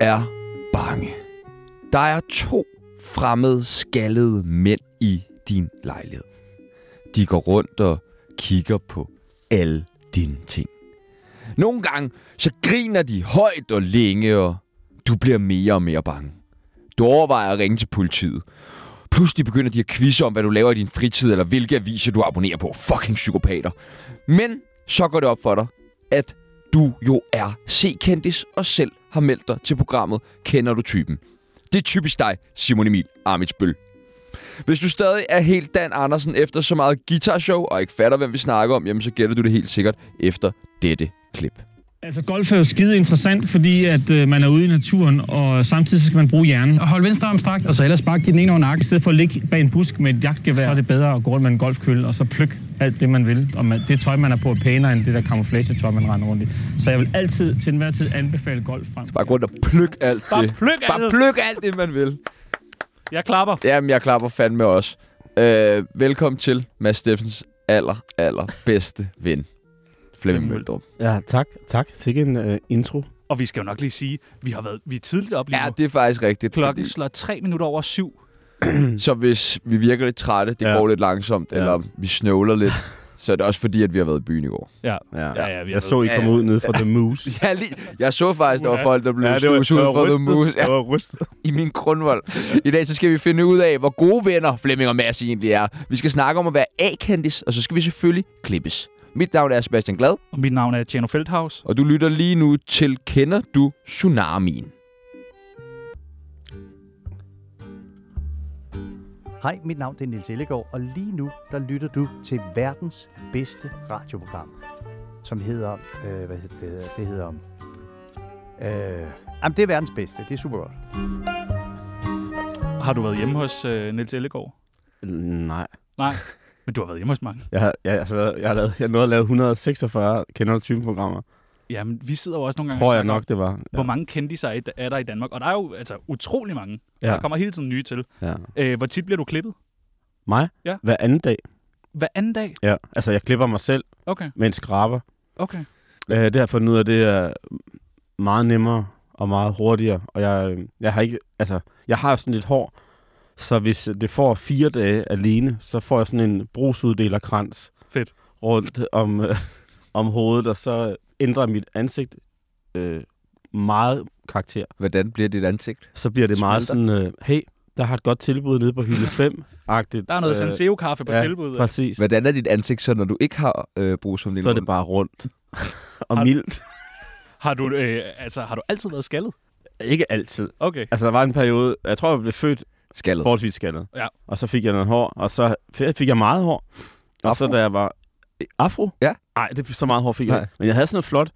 er bange. Der er to fremmede, skaldede mænd i din lejlighed. De går rundt og kigger på alle dine ting. Nogle gange, så griner de højt og længe, og du bliver mere og mere bange. Du overvejer at ringe til politiet. Pludselig begynder de at quizze om, hvad du laver i din fritid, eller hvilke aviser du abonnerer på. Fucking psykopater. Men så går det op for dig, at du jo er C-kendis og selv har meldt dig til programmet Kender du typen? Det er typisk dig, Simon Emil Amitsbøl. Hvis du stadig er helt Dan Andersen efter så meget guitarshow og ikke fatter, hvem vi snakker om, jamen så gætter du det helt sikkert efter dette klip. Altså, golf er jo skide interessant, fordi at øh, man er ude i naturen, og samtidig så skal man bruge hjernen. Og hold venstre arm strakt, og så ellers spark i den ene over nakken. I stedet for at ligge bag en busk med et jagtgevær, så er det bedre at gå rundt med en golfkølle, og så plukke alt det, man vil. Og man, det tøj, man er på, er pænere end det der camouflage-tøj, man render rundt i. Så jeg vil altid, til enhver tid, anbefale golf frem. Bare gå rundt og pluk alt Bare det. pløk Bare alt. pluk alt det, man vil. Jeg klapper. Jamen, jeg klapper fandme også. Øh, velkommen til Mads Steffens aller, aller bedste ven. Flemming Møldrup. Ja, tak. Tak. Sikke en uh, intro. Og vi skal jo nok lige sige, vi har været vi er tidligt op lige Ja, nu. det er faktisk rigtigt. Klokken slår tre minutter over syv. Så hvis vi virker lidt trætte, det Ja. går lidt langsomt, Ja. eller vi snøvler lidt, så er det også fordi, at vi har været i byen i går. Ja, Ja, ja, vi har jeg så, I kom ud nede fra The Moose. Jeg, lige, jeg så faktisk, der var folk, der blev ja, det var, snus ud fra The Moose Det ja, var rystet. i min grundvold. I dag så skal vi finde ud af, hvor gode venner Flemming og Mads egentlig er. Vi skal snakke om at være A-kendis, og så skal vi selvfølgelig klippes. Mit navn er Sebastian Glad, Og mit navn er Tjerno Feldhaus. og du lytter lige nu til Kender du Tsunamien? Hej, mit navn det er Nils Ellegaard, og lige nu der lytter du til verdens bedste radioprogram, som hedder, øh, hvad hedder det, hedder- det hedder, øh, jamen det er verdens bedste, det er super godt. Har du været hjemme hos øh, Niels Ellegaard? Nej. Nej, men du har været hjemme hos mange. Jeg, har- jeg, altså, jeg, har lavet, jeg nåede at lave 146 kender du typen programmer. Jamen, vi sidder jo også nogle gange... Tror og jeg snakker om, nok, det var. Hvor mange kendiser er- er der i Danmark? Og der er jo altså utrolig mange. Ja. Der kommer hele tiden nye til. Ja. Øh, hvor tit bliver du klippet? Mig? Ja. Hver anden dag. Hver anden dag? Ja. Altså, jeg klipper mig selv Okay, med en skraber. okay. Øh, det har jeg fundet ud af, det er meget nemmere og meget hurtigere. Og jeg, øh, jeg har ikke, altså, jeg har jo sådan lidt hår, så hvis det får fire dage alene, så får jeg sådan en brugsuddelerkrans Fedt. rundt om, øh, om hovedet, og så ændrer mit ansigt øh, meget karakter. Hvordan bliver dit ansigt? Så bliver det meget Smelter. sådan, øh, hey, der har et godt tilbud nede på hylde 5-agtigt. Der er noget øh, Senseo-kaffe på ja, tilbud. Præcis. Hvordan er dit ansigt så, når du ikke har øh, brug som din Så er det bare rundt. og Har- mildt. Har du, øh, altså, har du altid været skaldet? Ikke altid. Okay. Altså, der var en periode, jeg tror, jeg blev født skaldet? forholdsvis skaldet. Ja. Og så fik jeg noget hår, og så f- fik jeg meget hår. Og så Afro? da jeg var... Afro? Ja. Nej, det så meget hår fik jeg. Nej. ikke. Men jeg havde sådan noget flot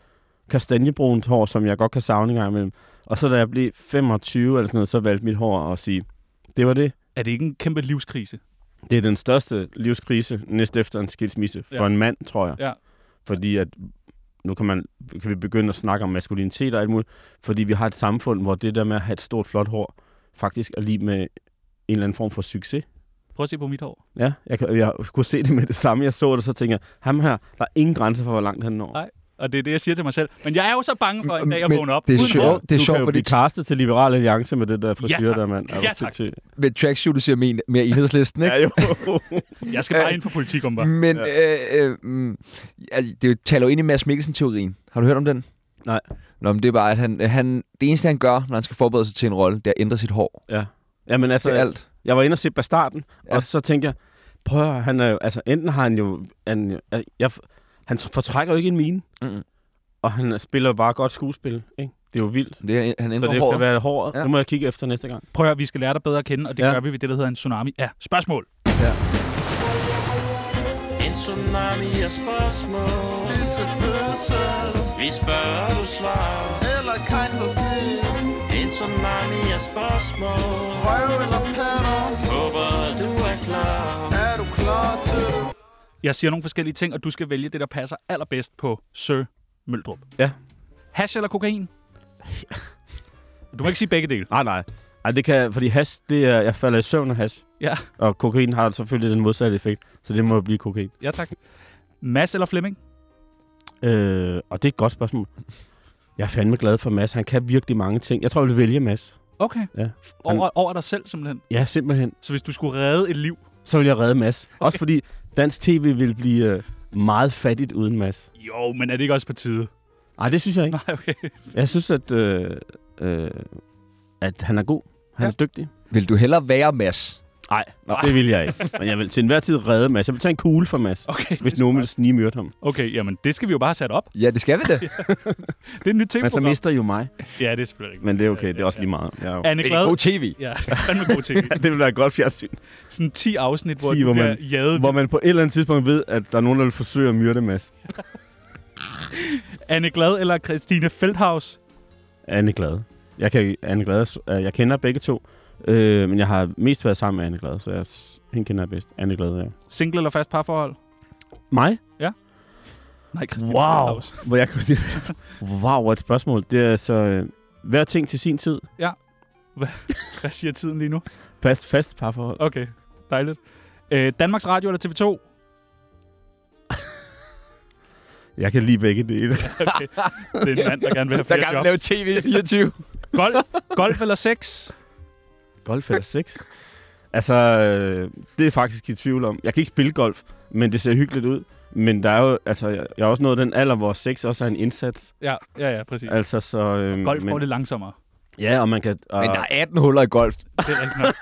kastanjebrunt hår, som jeg godt kan savne en gang imellem. Og så da jeg blev 25 eller sådan noget, så valgte mit hår at sige, det var det. Er det ikke en kæmpe livskrise? Det er den største livskrise næst efter en skilsmisse for Ja. ja. en mand, tror jeg. Ja. Fordi at nu kan, man, kan vi begynde at snakke om maskulinitet og alt muligt, fordi vi har et samfund, hvor det der med at have et stort, flot hår, faktisk er lige med en eller anden form for succes. Prøv at se på mit hår. Ja, jeg, kan- jeg kunne se det med det samme. Jeg så det, og så tænker jeg, ham her, der er ingen grænser for, hvor langt han når. Nej, Og det er det, jeg siger til mig selv. Men jeg er jo så bange for en dag at Men vågne op. det er uden sjovt. hår. det er du sjovt, kan jo fordi- blive castet til Liberal Alliance med det der frisyr, tak. der mand. Er du Ja, tak. sindssyg? Men tracksuit ser mere, mere enhedslisten, ikke? Ja, jo. Jeg skal bare Øh, ind for politik om Men øh, øh, mm, altså, det taler jo ind i Mads Mikkelsen-teorien. Har du hørt om den? Nej. Nå, men det er bare, at han, han, det eneste, han gør, når han skal forberede sig til en rolle, det er at ændre sit hår. ja, men Så altså, det er alt. jeg var inde og se Bastarden, Ja. ja. og så tænkte jeg, prøv at høre, han er jo, altså, enten har han jo, han, jeg, jeg, han fortrækker jo ikke en mine, Mm. og han spiller jo bare godt skuespil, ikke? Det er jo vildt. Det er, han Så ændrer det håret. kan være hårdt. Ja. Ja. Nu må jeg kigge efter næste gang. Prøv at høre, vi skal lære dig bedre at kende, og det ja. Ja. gør vi ved det, der hedder en tsunami. Ja, spørgsmål. En tsunami af spørgsmål Fødsel, fødsel Vi spørger, du svarer Eller kejsersnit En tsunami af spørgsmål Røv eller patter Håber, du er klar Er du klar til det? Jeg siger nogle forskellige ting, og du skal vælge det, der passer allerbedst på Sir Møldrup. Ja. Hash eller kokain? Du må ikke sige begge dele. Nej, Ah, nej. Ej, det kan, fordi hash, det er, jeg falder i søvn af hash. Ja. Og kokain har selvfølgelig den modsatte effekt, så det må blive kokain. Ja, tak. Mads eller Flemming? Øh, og det er et godt spørgsmål. Jeg er fandme glad for Mads. Han kan virkelig mange ting. Jeg tror, jeg vil vælge Mads. Okay. Ja. Over, over dig selv, simpelthen. Ja, simpelthen. Så hvis du skulle redde et liv... Så vil jeg redde Mads. Okay. Også fordi dansk tv vil blive øh, meget fattigt uden Mads. Jo, men er det ikke også på tide? Nej, det synes jeg ikke. Nej, okay. Jeg synes, at, øh, øh, at han er god. Han Ja. ja. er dygtig. Vil du hellere være Mads? Nej, det vil jeg ikke. Men jeg vil til enhver tid redde Mads. Jeg vil tage en kugle for Mads, Okay, hvis nogen ville snigmyrde ham. okay jamen, det skal vi jo bare have sat op. Ja, det skal vi da. Det er et nyt tema. Men så Altså, mister I jo mig. Ja, det er selvfølgelig rigtigt. Men det er okay, det er også lige meget. Jeg er jo... Anne Glad. tv. Ja, fandme god tv. Det vil være et godt fjernsyn. Sådan 10 afsnit, hvor 10, du hvor bliver man- jaget. Hvor man på et eller andet tidspunkt ved, at der er nogen, der vil forsøge at myrde Mads. Anne Glad eller Christine Feldhaus. Anne Glade. Jeg, kan, Anne Glade, øh, jeg kender begge to, øh, men jeg har mest været sammen med Anne Glade, så jeg, s- hende kender jeg bedst. Anne Glade, ja. Single eller fast parforhold? Mig? Nej, Christine Wow. Feldhaus. Hvor jeg kunne sige, wow, hvor et spørgsmål. Det er så øh, hver ting til sin tid. Hvad siger tiden lige nu? Fast, fast parforhold. Okay, dejligt. Øh, Danmarks Radio eller TV2? Jeg kan lide begge dele. Okay. Det er en mand, der gerne vil have flere jobs. tv 24. Golf, golf eller sex? Golf eller sex? Altså, øh, det er jeg faktisk i tvivl om. Jeg kan ikke spille golf, men det ser hyggeligt ud. Men der er jo, altså, jeg, jeg er også nået den alder, hvor sex også er en indsats. Ja, ja, ja, præcis. Altså, så... Øh, Golf går men, lidt langsommere. Ja, og man kan... Og, Men der er 18 huller i golf. Det er rigtigt nok.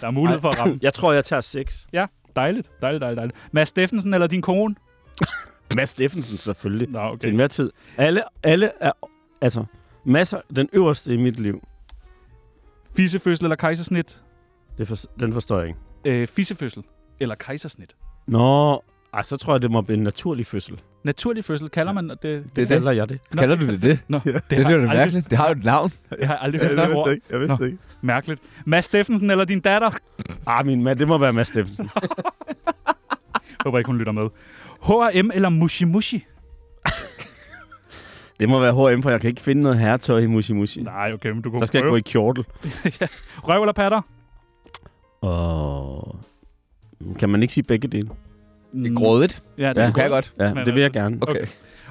Der er mulighed for at ramme. Jeg tror, jeg tager sex. Dejligt, dejligt, dejligt, dejligt. Mads Steffensen eller din kone? Mads Steffensen selvfølgelig. Nå, Til okay. enhver tid. Alle, alle er... Altså, masser... Den øverste i mit liv. Fissefødsel eller kejsersnit? Det for, den forstår jeg ikke. Øh, fissefødsel eller kejsersnit? Nå... Ej, så tror jeg, det må blive en naturlig fødsel. Naturlig fødsel kalder man det. Det, Det er det. Kalder jeg det? Nå, Kalder du det det? Nå, det, Det, det har er jeg da aldrig- mærkeligt. Det har jo et navn. Jeg har aldrig hørt det ord. ikke. Jeg vidste Nå. ikke. Mærkeligt. Mads Steffensen eller din datter? Ah, min mand, det må være Mads Steffensen. Håber ikke, hun lytter med. H&M eller Mushi Mushi? Det må være H&M, for jeg kan ikke finde noget herretøj i Musi Musi. Nej, okay, men du kunne Der skal jeg gå i kjortel. Røv eller patter? Og... Kan man ikke sige begge dele? Det er grådigt. Mm, Ja, det Ja. er Du kan grådigt. godt. Ja, Men men det vil jeg altså- gerne. Okay.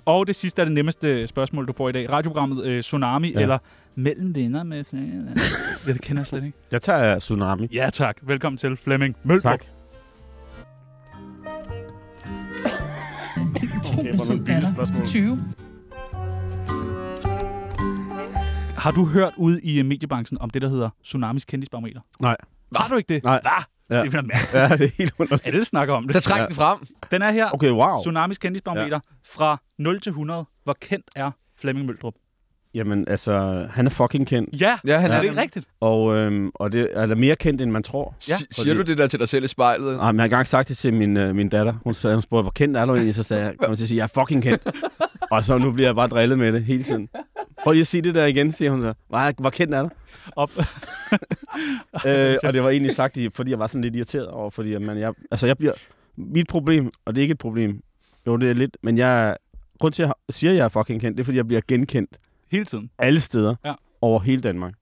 Og det sidste er det nemmeste spørgsmål, du får i dag. Radioprogrammet øh, Tsunami ja. Ja. eller Mellem venner med... Ja, det kender jeg slet ikke. Jeg tager Tsunami. Ja tak. Velkommen til Flemming Mølbrup. Tak. Okay, hvor nogle vilde spørgsmål. 20. Har du hørt ude i øh, mediebranchen om det, der hedder Tsunamis kendisbarometer? Nej. Har du ikke det? Nej. Hva? Ja. Det er da mærkeligt. Ja, det er helt underligt. Alle snakker om Så det. træk den frem. Den er her. Okay, wow. Tsunamis kendisbarometer fra 0 til 100. Hvor kendt er Flemming Møldrup? Jamen, altså, han er fucking kendt. Ja, Ja, han er er det ikke rigtigt? Og, øhm, og det er da mere kendt, end man tror. Ja. Si- Siger du det der til dig selv i spejlet? Nej, men jeg har engang sagt det til min, øh, min datter. Hun spurgte, hun spurgte, hvor kendt er du egentlig? Så sagde jeg, kom til at sige, jeg er fucking kendt. og så nu bliver jeg bare drillet med det hele tiden. Prøv lige at sige det der igen, siger hun så. Hvor, hvor kendt er du? Op. øh, og det var egentlig sagt, i- fordi jeg var sådan lidt irriteret over, fordi at man, jeg, altså jeg bliver, mit problem, og det er ikke et problem, jo det er lidt, men jeg, grund til at jeg siger, at jeg er fucking kendt, det er fordi, jeg bliver genkendt Hele tiden. alle steder Ja. over hele Danmark.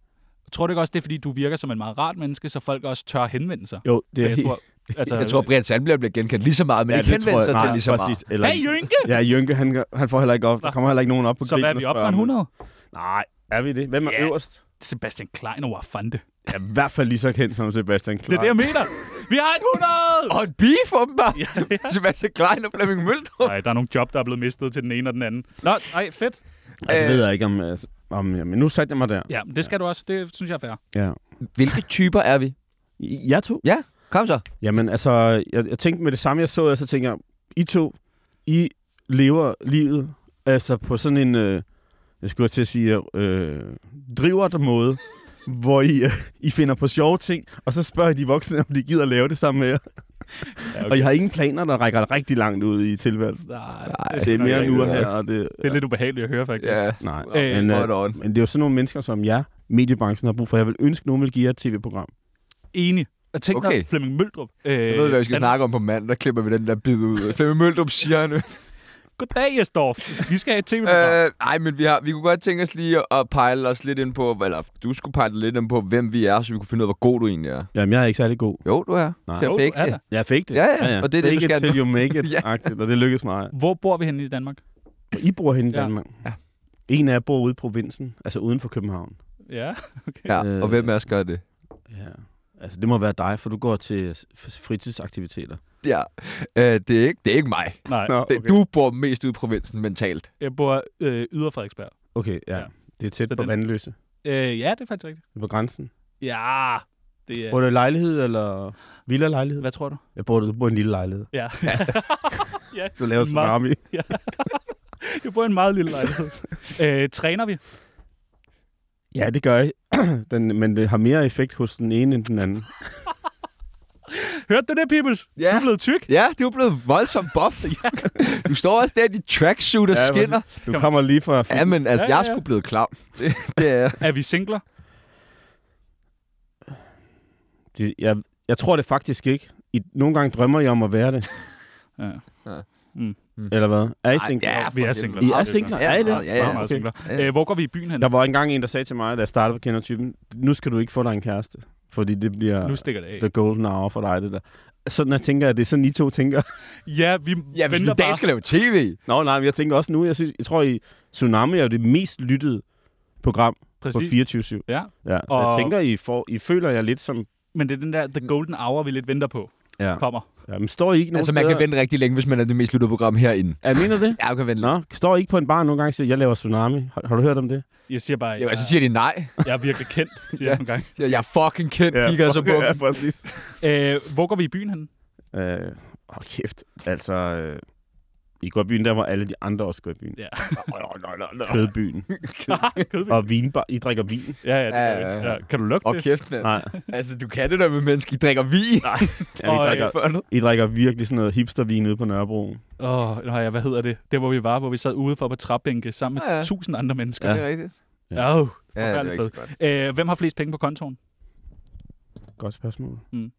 Tror du ikke også, det er, fordi du virker som en meget rart menneske, så folk også tør henvende sig? Jo, det er Jeg helt... tror, altså, Jeg tror, Brian Sandberg bliver genkendt lige så meget, men Ja, ikke det tror henvendt sig jeg- til nej, lige så meget. præcis. Eller, Hey, Jynke! Ja, Jynke, han, gør- han får heller ikke op. Der Nå. kommer heller ikke nogen op på Så hvad er grinen vi og op på spørger en om- 100? Nej, er vi det? Hvem er Ja. øverst? Sebastian Klein og Fante. Ja, i hvert fald lige så kendt som Sebastian Det er Klein. det, jeg mener. Vi har et 100! Og en pige for dem bare. Sebastian Klein og Flemming Møldrup. Nej, der er nogle job, der er blevet mistet til den ene og den anden. Nå, nej, fedt. Øh. Ja, det ved jeg ikke om... altså, om ja, men nu satte jeg mig der. Ja, det skal du også. Det synes jeg er fair. Ja. Hvilke typer er vi? Jeg to? Ja, kom så. Jamen, altså, jeg, jeg tænkte med det samme, jeg så jer, så tænkte jeg, I to, I lever livet altså på sådan en, øh, jeg skulle til at sige, øh, driver måde, hvor I, øh, I finder på sjove ting, og så spørger I de voksne, om de gider at lave det sammen med jer. Ja, okay. Og I har ingen planer, der rækker rigtig langt ud i tilværelsen. Nej, Det er mere en rigtigt, uger ja. her, og det... Det er lidt ubehageligt at høre, faktisk. Ja, Nej, Øh, men, spot on. øh, men det er jo sådan nogle mennesker, som jeg, mediebranchen, har brug for. Jeg vil ønske, nogen vil give jer et tv-program. Enig. Og tænk okay. Okay. dig, Flemming Møldrup. Øh, jeg ved, hvad vi skal snakke om på mand. Der klipper vi den der bid ud. Flemming Møldrup siger han. Goddag, Jesdorf. Vi skal have et tv øh, Øh, ej, men vi, har, vi kunne godt tænke os lige at pejle os lidt ind på, eller du skulle pejle lidt ind på, hvem vi er, så vi kunne finde ud af, hvor god du egentlig er. Jamen, jeg er ikke særlig god. Jo, du er. Nej. Til at Jo, du fake er det. da. Jeg fik det. Ja, ja, og det er det, du Fake it skal till you make it, Ja. ja. og det lykkedes mig. Hvor bor vi henne i Danmark? I bor henne i Ja. Danmark. Ja. En af jer bor ude i provinsen, altså uden for København. Ja. Ja, og Øh. hvem af os gør det? Ja. Altså, det må være dig, for du går til øh, fritidsaktiviteter. Ja, øh, det, er ikke, det er ikke mig. Nej, Nå, Det, du bor mest ude i provinsen mentalt. jeg bor øh, yder Frederiksberg. Okay, ja. Ja. ja. Det er tæt Så på den- vandløse. Øh, ja, det er faktisk rigtigt. Det er på grænsen. Ja, det Ja. er... Bor du i lejlighed eller villa-lejlighed? Hvad tror du? Jeg bor, du bor i en lille lejlighed. Ja. ja. Du laver Meget- tsunami. Jeg bor i en meget lille lejlighed. øh, træner vi? Ja, det gør jeg. den, men det har mere effekt hos den ene end den anden. Hørte du det, Peoples? Ja. Du er blevet tyk. Ja, du er blevet voldsomt buff. Du står også der i dit tracksuit og Ja, skinner. Du kommer lige fra... Ja, men altså, Ja, ja, jeg er ja. sgu blevet klam. Det, det er... Er vi singler? Det, jeg, jeg tror det faktisk ikke. I, nogle gange drømmer jeg om at være det. Ja. Eller hvad? Er I Ej, singler? ja, Vi er for singler. helvede. I er meget singler? singler. Er I det? Ja, ja, ja. Meget, meget okay. singler. Ja. Øh, hvor går vi i byen hen? Der var engang en, der sagde til mig, da jeg startede på kendertypen, nu skal du ikke få dig en kæreste, fordi det bliver Nu stikker det af. the golden hour for dig, det der. Sådan jeg tænker, at det er sådan, I to tænker. Ja, vi Ja, ja, hvis venter du dag bare. skal lave tv. Nå, nej, men jeg tænker også nu, jeg, synes, jeg tror, i Tsunami er jo det mest lyttede program på Præcis. 24-7. Ja, Ja, så Og- jeg tænker, I, får, I føler jer lidt som... men det er den der the golden hour, vi lidt venter på, Ja. kommer. ja men står I ikke nogen Altså, man kan steder? vente rigtig længe, hvis man er det mest lyttede program herinde. Ja, mener det? Ja, du kan vente. Nå, står I ikke på en bar nogle gange og siger, jeg laver Tsunami? Har, har du hørt om det? Jeg siger bare, Jo, jeg, altså, siger de nej. jeg er virkelig kendt, siger Ja. jeg nogle gange. Siger, jeg er fucking kendt, kigger jeg så på. dem. præcis. Øh, hvor går vi i byen hen? Øh, hold kæft. Altså, øh, I går i byen der, hvor alle de andre også går i byen. Ja. Kødbyen. Kødby. Og vinbar. I drikker vin. Ja, ja, det, Ja, ja, ja, ja, ja. ja. Kan du lugte Og det? kæft, mand. Nej. Altså, du kan det der med mennesker. I drikker vin. Nej, Ja, I, Og, øh, drikker, I drikker virkelig sådan noget hipstervin ude på Nørrebro. Åh, oh, nej, hvad hedder det? Det, hvor vi var, hvor vi sad ude for på træbænke sammen med Ja, ja. tusind andre Ja. mennesker. Ja. Det er rigtigt. Ja. Oh. Ja, det er Forfærdeligt ikke så godt. Øh, hvem har flest penge på kontoen? Godt spørgsmål. Mm.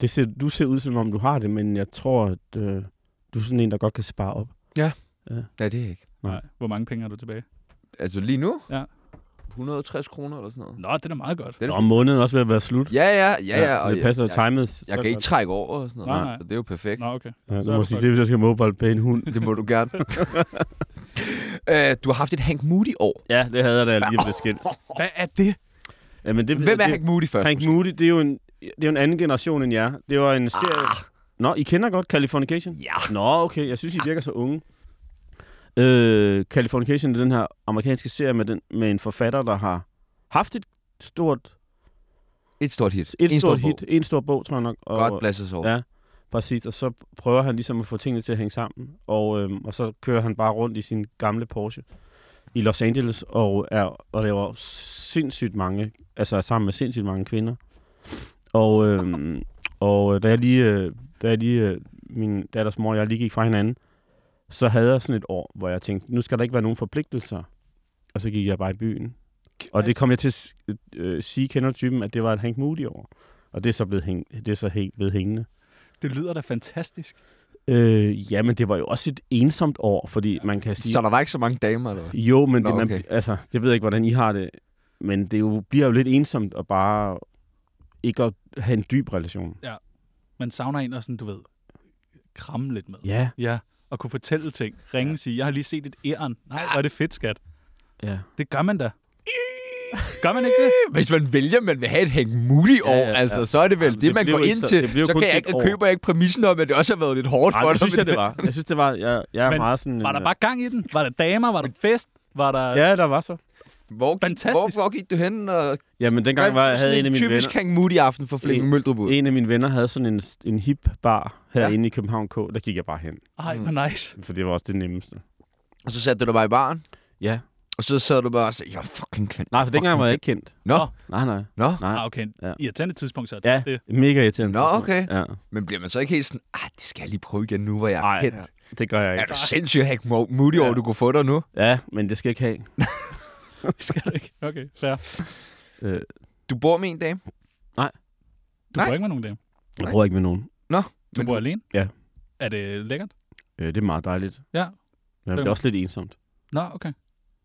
Det ser, du ser ud, som om du har det, men jeg tror, at øh, du er sådan en, der godt kan spare op. Nej, det er ikke. Nej. Hvor mange penge har du tilbage? Altså, lige nu? Ja. 160 kroner eller sådan noget. Nå, det er da meget godt. Det er Nå, fint. måneden er også ved at være slut. Ja, ja, ja, ja. og det passer jo jeg, jeg, timet. jeg kan ikke trække over og sådan noget. Nej, nej. Så det er jo perfekt. Nå, okay. Ja, så du er må det sige godt. det, hvis jeg skal mobile pay en hund. Det må du gerne. øh, du har haft et Hank Moody år. Ja, det havde jeg da lige blevet skilt. Hvad er det? Ja, men det, Hvem er det, Hank Moody først? Hank Moody, det er jo en, det er jo en anden generation end jer. Det var en serie... Ah. Nå, I kender godt Californication? Ja. Nå, okay. Jeg synes, I virker så unge. Øh, Californication er den her amerikanske serie med, den, med en forfatter, der har haft et stort, Et stort hit. et En stor stort bog. hit. En stor bog, tror jeg nok. Og, Godt blæs os over. Ja, præcis. Og så prøver han ligesom at få tingene til at hænge sammen. Og, øhm, og så kører han bare rundt i sin gamle Porsche i Los Angeles og, er, og laver sindssygt mange, altså er sammen med sindssygt mange kvinder. Og, øhm, og øh, da jeg lige, øh, da jeg lige øh, min datters mor og jeg lige gik fra hinanden, så havde jeg sådan et år, hvor jeg tænkte, nu skal der ikke være nogen forpligtelser. Og så gik jeg bare i byen. Og det kom jeg til at s- øh, øh, sige kendertypen, at det var et Hank Moody år. Og det er så blevet, hæng, det er så helt blevet hængende. Det lyder da fantastisk. Øh, ja, men det var jo også et ensomt år, fordi man kan sige... Så der var ikke så mange damer, eller hvad? Jo, men Nå, det, man, okay. altså, jeg ved ikke, hvordan I har det, men det jo, bliver jo lidt ensomt at bare ikke at have en dyb relation. Man savner en og sådan, du ved, kramme lidt med. Ja, Ja, og kunne fortælle ting. Ringe og sige, jeg har lige set et æren. Nej, hvor er det fedt, skat. ja. Det gør man da. Gør man ikke det? Hvis man vælger, man vil have et Hank Moody år, ja, ja, Ja, ja, ja. ja. altså, så er det vel Jamen, det, det man bliver går jo ikke ind så- til. det bliver jo så kun kan jeg til ikke, et år. køber jeg ikke præmissen om, at det også har været lidt hårdt Ej, for det synes men jeg, det var. Jeg synes, det var. Jeg, jeg er Men meget sådan... Var der øh, bare gang i den? Var der damer? Var der fest? Var der... Ja, der var så. Hvor, gik, Fantastisk. hvor, hvor gik du hen? Og, Jamen, dengang var, jeg havde en af mine typisk venner... Hank Moody-aften for Flemming En- Møldrup ud. En af mine venner havde sådan en, en hip bar herinde i København K. Der gik jeg bare hen, Ej, hvor nice. for det var også det nemmeste. Og så satte du dig bare i baren, Ja. og så sad du bare og sagde, jeg er fucking kvinde. Nej, for dengang var jeg ikke kendt. Nå, Nej, nej. nå. nej. Ah, okay. Ja. Irriterende tidspunkt, så. Ja, Det, mega irriterende. Nå, tidspunkt. okay. Ja. Men bliver man så ikke helt sådan, ah, det skal jeg lige prøve igen nu, hvor jeg er Ej, kendt. det gør jeg Er ikke. du sindssygt Hank Mo- Moody over, Ja. du kunne få dig nu? Ja, men det skal jeg ikke have. det skal du ikke. Okay, fair. Øh, Du bor med en dame, Du Nej. bor ikke med nogen dame. jeg bruger ikke med nogen. Du Men bor du- alene? Ja. Er det lækkert? Øh, det er meget dejligt. Ja. Men det er også lidt ensomt. Nå, okay.